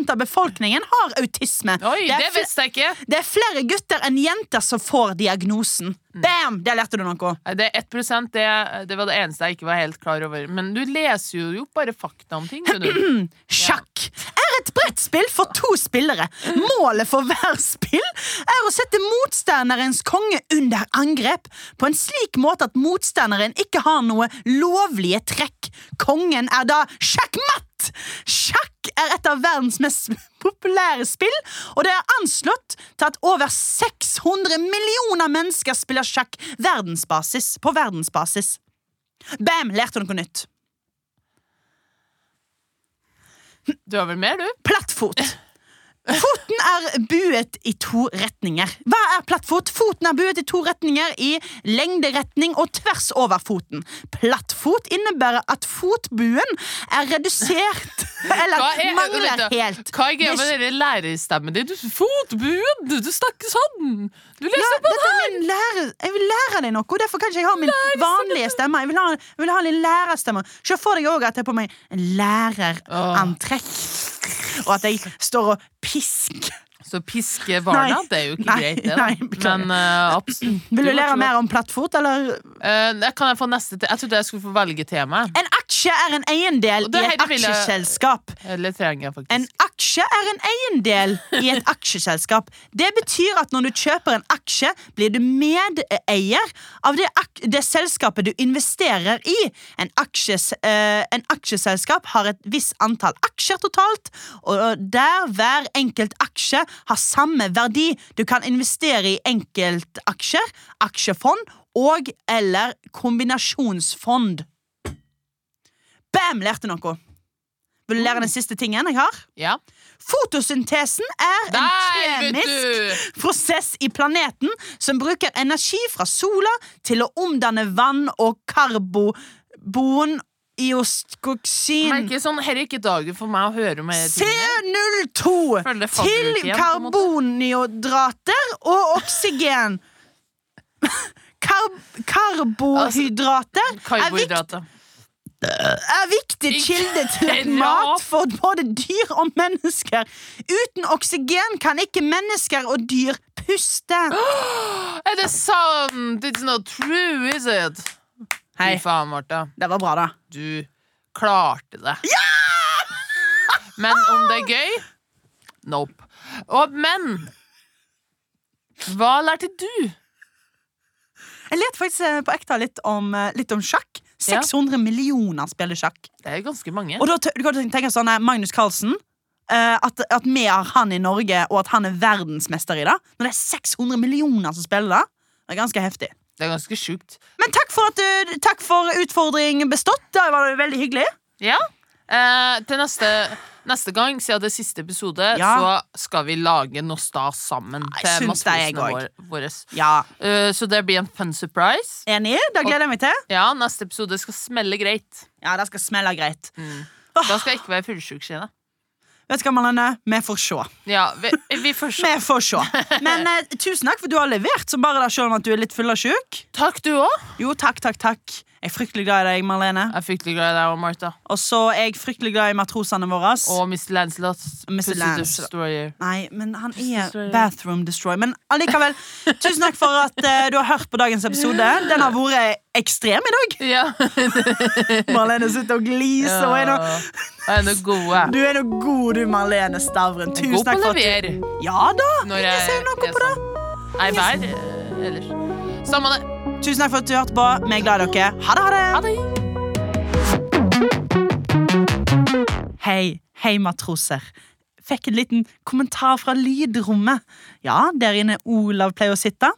[SPEAKER 2] 1 av befolkningen har autisme.
[SPEAKER 1] Oi, det,
[SPEAKER 2] fl-
[SPEAKER 1] visste jeg ikke!
[SPEAKER 2] Det er flere gutter enn jenter som får diagnosen.
[SPEAKER 1] Mm.
[SPEAKER 2] Bam! Der lærte du noe.
[SPEAKER 1] Nei, Det er 1 det, det var det eneste jeg ikke var helt klar over. Men du leser jo, jo bare fakta om ting. skjønner
[SPEAKER 2] [clears throat]
[SPEAKER 1] Du.
[SPEAKER 2] Sjakk er et brettspill for to spillere. Målet for hver spill er å sette motstanderens konge under angrep på en slik måte at motstanderen ikke har noe lovlige trekk. Kongen er da sjakkmatt! Sjakk er et av verdens mest populære spill, og det er anslått til at over 600 millioner mennesker spiller sjakk verdensbasis, på verdensbasis. Bam! Lærte noe nytt.
[SPEAKER 1] Du har vel mer, du?
[SPEAKER 2] Plattfot. Foten er buet i to retninger. Hva er plattfot? Foten er buet i to retninger i lengderetning og tvers over foten. Plattfot innebærer at fotbuen er
[SPEAKER 1] [laughs]
[SPEAKER 2] redusert eller
[SPEAKER 1] Hva er-
[SPEAKER 2] mangler
[SPEAKER 1] vent da.
[SPEAKER 2] helt.
[SPEAKER 1] Hva er greia
[SPEAKER 2] Det
[SPEAKER 1] med
[SPEAKER 2] er-
[SPEAKER 1] dere lærerstemmen din? Du, fotbuen! Du, du snakker sånn! Du leser
[SPEAKER 2] Ja,
[SPEAKER 1] på
[SPEAKER 2] dette er min lærer, jeg vil lære deg noe, derfor kan ikke jeg ha min vanlige stemme. Jeg vil ha, jeg vil ha litt lærerstemme. Se for deg òg at jeg har på meg en lærerantrekk, og at jeg står og pisker.
[SPEAKER 1] Så piske barna,
[SPEAKER 2] Nei.
[SPEAKER 1] det er jo ikke
[SPEAKER 2] Nei,
[SPEAKER 1] greit, det.
[SPEAKER 2] nei,
[SPEAKER 1] da.
[SPEAKER 2] beklager.
[SPEAKER 1] Men eh, absolutt.
[SPEAKER 2] [clears throat] Vil
[SPEAKER 1] Det
[SPEAKER 2] du
[SPEAKER 1] var
[SPEAKER 2] lære
[SPEAKER 1] ikke
[SPEAKER 2] mer om plattfot, eller
[SPEAKER 1] noe- Eh, kan jeg få neste te Jeg trodde jeg skulle få velge tema.
[SPEAKER 2] En aksje er en
[SPEAKER 1] Og
[SPEAKER 2] eiendel i
[SPEAKER 1] det
[SPEAKER 2] et
[SPEAKER 1] her vil jeg-
[SPEAKER 2] aksjeselskap.
[SPEAKER 1] Eller Eh, trenger jeg faktisk.
[SPEAKER 2] En aksje er en eiendel i et aksjeselskap. Det betyr at når du kjøper en aksje, blir du medeier av det, ak det selskapet du investerer i. En, aksjes, eh, en aksjeselskap har et visst antall aksjer totalt, og der hver enkelt aksje har samme verdi. Du kan investere i enkeltaksjer, aksjefond og eller kombinasjonsfond. Bam! Lærte noe. Vil du lære den siste tingen jeg har?
[SPEAKER 1] Ja.
[SPEAKER 2] Fotosyntesen er
[SPEAKER 1] Der,
[SPEAKER 2] en
[SPEAKER 1] vet
[SPEAKER 2] kjemisk
[SPEAKER 1] du!
[SPEAKER 2] prosess i planeten som bruker energi fra sola til å omdanne vann og karbon
[SPEAKER 1] Men
[SPEAKER 2] iostkoksin
[SPEAKER 1] ikke sånn, her er ikke dagen for meg å høre om disse tingene.
[SPEAKER 2] C02
[SPEAKER 1] Føler det faller ut
[SPEAKER 2] til
[SPEAKER 1] igjen, på en måte.
[SPEAKER 2] karboniodrater og oksygen. [laughs] Kar karbohydrater er, vikt,
[SPEAKER 1] Altså, Karbohydrater.
[SPEAKER 2] er viktig kilde til
[SPEAKER 1] Ikke
[SPEAKER 2] mat
[SPEAKER 1] rart.
[SPEAKER 2] for både dyr og mennesker. Uten oksygen kan ikke mennesker og dyr puste.
[SPEAKER 1] Er det sant? It's not true, is it? Fy
[SPEAKER 2] Hei.
[SPEAKER 1] faen, Martha.
[SPEAKER 2] Det var bra, da.
[SPEAKER 1] Du klarte det. Men om det er gøy? Nope. Og, men Hva lærte du?
[SPEAKER 2] Jeg lærte faktisk eh, på ekte litt om, eh, litt om sjakk. 600 millioner spiller sjakk.
[SPEAKER 1] Det er ganske mange.
[SPEAKER 2] Og da t- du kan tenke sånn eh, Magnus Carlsen. eh, at, at vi har han i Norge, og at han er verdensmester i det. Når det er 600 millioner som spiller det. Det er ganske heftig.
[SPEAKER 1] Det er ganske sjukt.
[SPEAKER 2] Men takk for, at, du- takk for utfordring bestått. Det var jo veldig hyggelig.
[SPEAKER 1] Ja. Eh, til neste, neste gang, siden det er siste episode,
[SPEAKER 2] Ja.
[SPEAKER 1] så skal vi lage noe stas sammen.
[SPEAKER 2] Jeg
[SPEAKER 1] Til
[SPEAKER 2] syns det, jeg
[SPEAKER 1] massosene
[SPEAKER 2] òg.
[SPEAKER 1] vår- våres.
[SPEAKER 2] Ja,
[SPEAKER 1] Eh, så det blir en fun surprise.
[SPEAKER 2] Enig? Det gleder jeg meg til.
[SPEAKER 1] Ja, neste episode skal smelle greit.
[SPEAKER 2] Ja, det skal smelle greit.
[SPEAKER 1] Da skal jeg ikke være fullsjuk, Skjene.
[SPEAKER 2] Vet du hva, Malene? Vi får se.
[SPEAKER 1] Ja, vi, vi får se.
[SPEAKER 2] Vi får se. Men eh, tusen takk for at du har levert som bare deg selv om at du er litt full av sjuk.
[SPEAKER 1] Takk, du òg.
[SPEAKER 2] Jo, takk, takk, takk. Jeg er fryktelig glad i deg, Marlene.
[SPEAKER 1] Jeg er fryktelig glad i deg og Martha.
[SPEAKER 2] Og så er jeg fryktelig glad i matrosene våre.
[SPEAKER 1] Og Mr. Lancelot. Pussy
[SPEAKER 2] Lancelot.
[SPEAKER 1] Destroyer.
[SPEAKER 2] Nei, men han er
[SPEAKER 1] Destroyer.
[SPEAKER 2] bathroom destroyer. Men allikevel, tusen takk for at eh, du har hørt på dagens episode. Den har vært ekstrem i dag.
[SPEAKER 1] [laughs] Ja.
[SPEAKER 2] Marlene sitter og gliser. Og er nå-
[SPEAKER 1] Jeg er noe god, jeg.
[SPEAKER 2] du er nå god, du, Marlene Stavren. Tusen
[SPEAKER 1] God på
[SPEAKER 2] takk
[SPEAKER 1] å
[SPEAKER 2] for at
[SPEAKER 1] levere.
[SPEAKER 2] Ja da!
[SPEAKER 1] Når
[SPEAKER 2] Ingen
[SPEAKER 1] jeg
[SPEAKER 2] sier noe
[SPEAKER 1] er
[SPEAKER 2] på det.
[SPEAKER 1] sånn. Nei, vær eh, ellers. Samme det.
[SPEAKER 2] Tusen takk for at du hørte på. Vi er glad i dere. Ha det, ha det.
[SPEAKER 1] Ha det!
[SPEAKER 2] Hei, hei matroser. Fikk en liten kommentar fra lydrommet. Ja, der inne Olav pleier å sitte.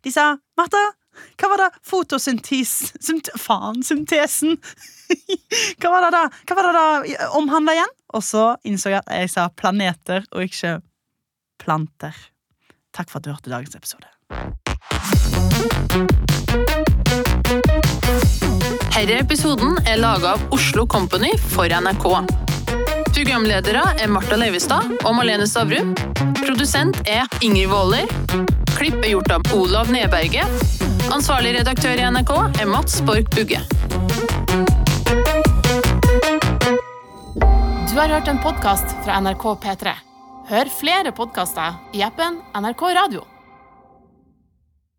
[SPEAKER 2] De sa, Martha, hva var det fotosyntes... Synt, faen, syntesen. [laughs] hva var det da? Hva var det da omhandla igjen? Og så innså jeg at jeg sa planeter og ikke planter. Takk for at du hørte dagens episode.
[SPEAKER 1] Herre episoden er laget av Oslo Company for NRK. Programledere er Martha Leivestad og Malene Stavrum. Produsent er Inger Våler. Klipp er gjort av Olav Neberge. Ansvarlig redaktør i NRK er Mats Borg Bugge.
[SPEAKER 3] Du har hørt en podkast fra NRK P3. Hør flere podkaster i appen NRK Radio.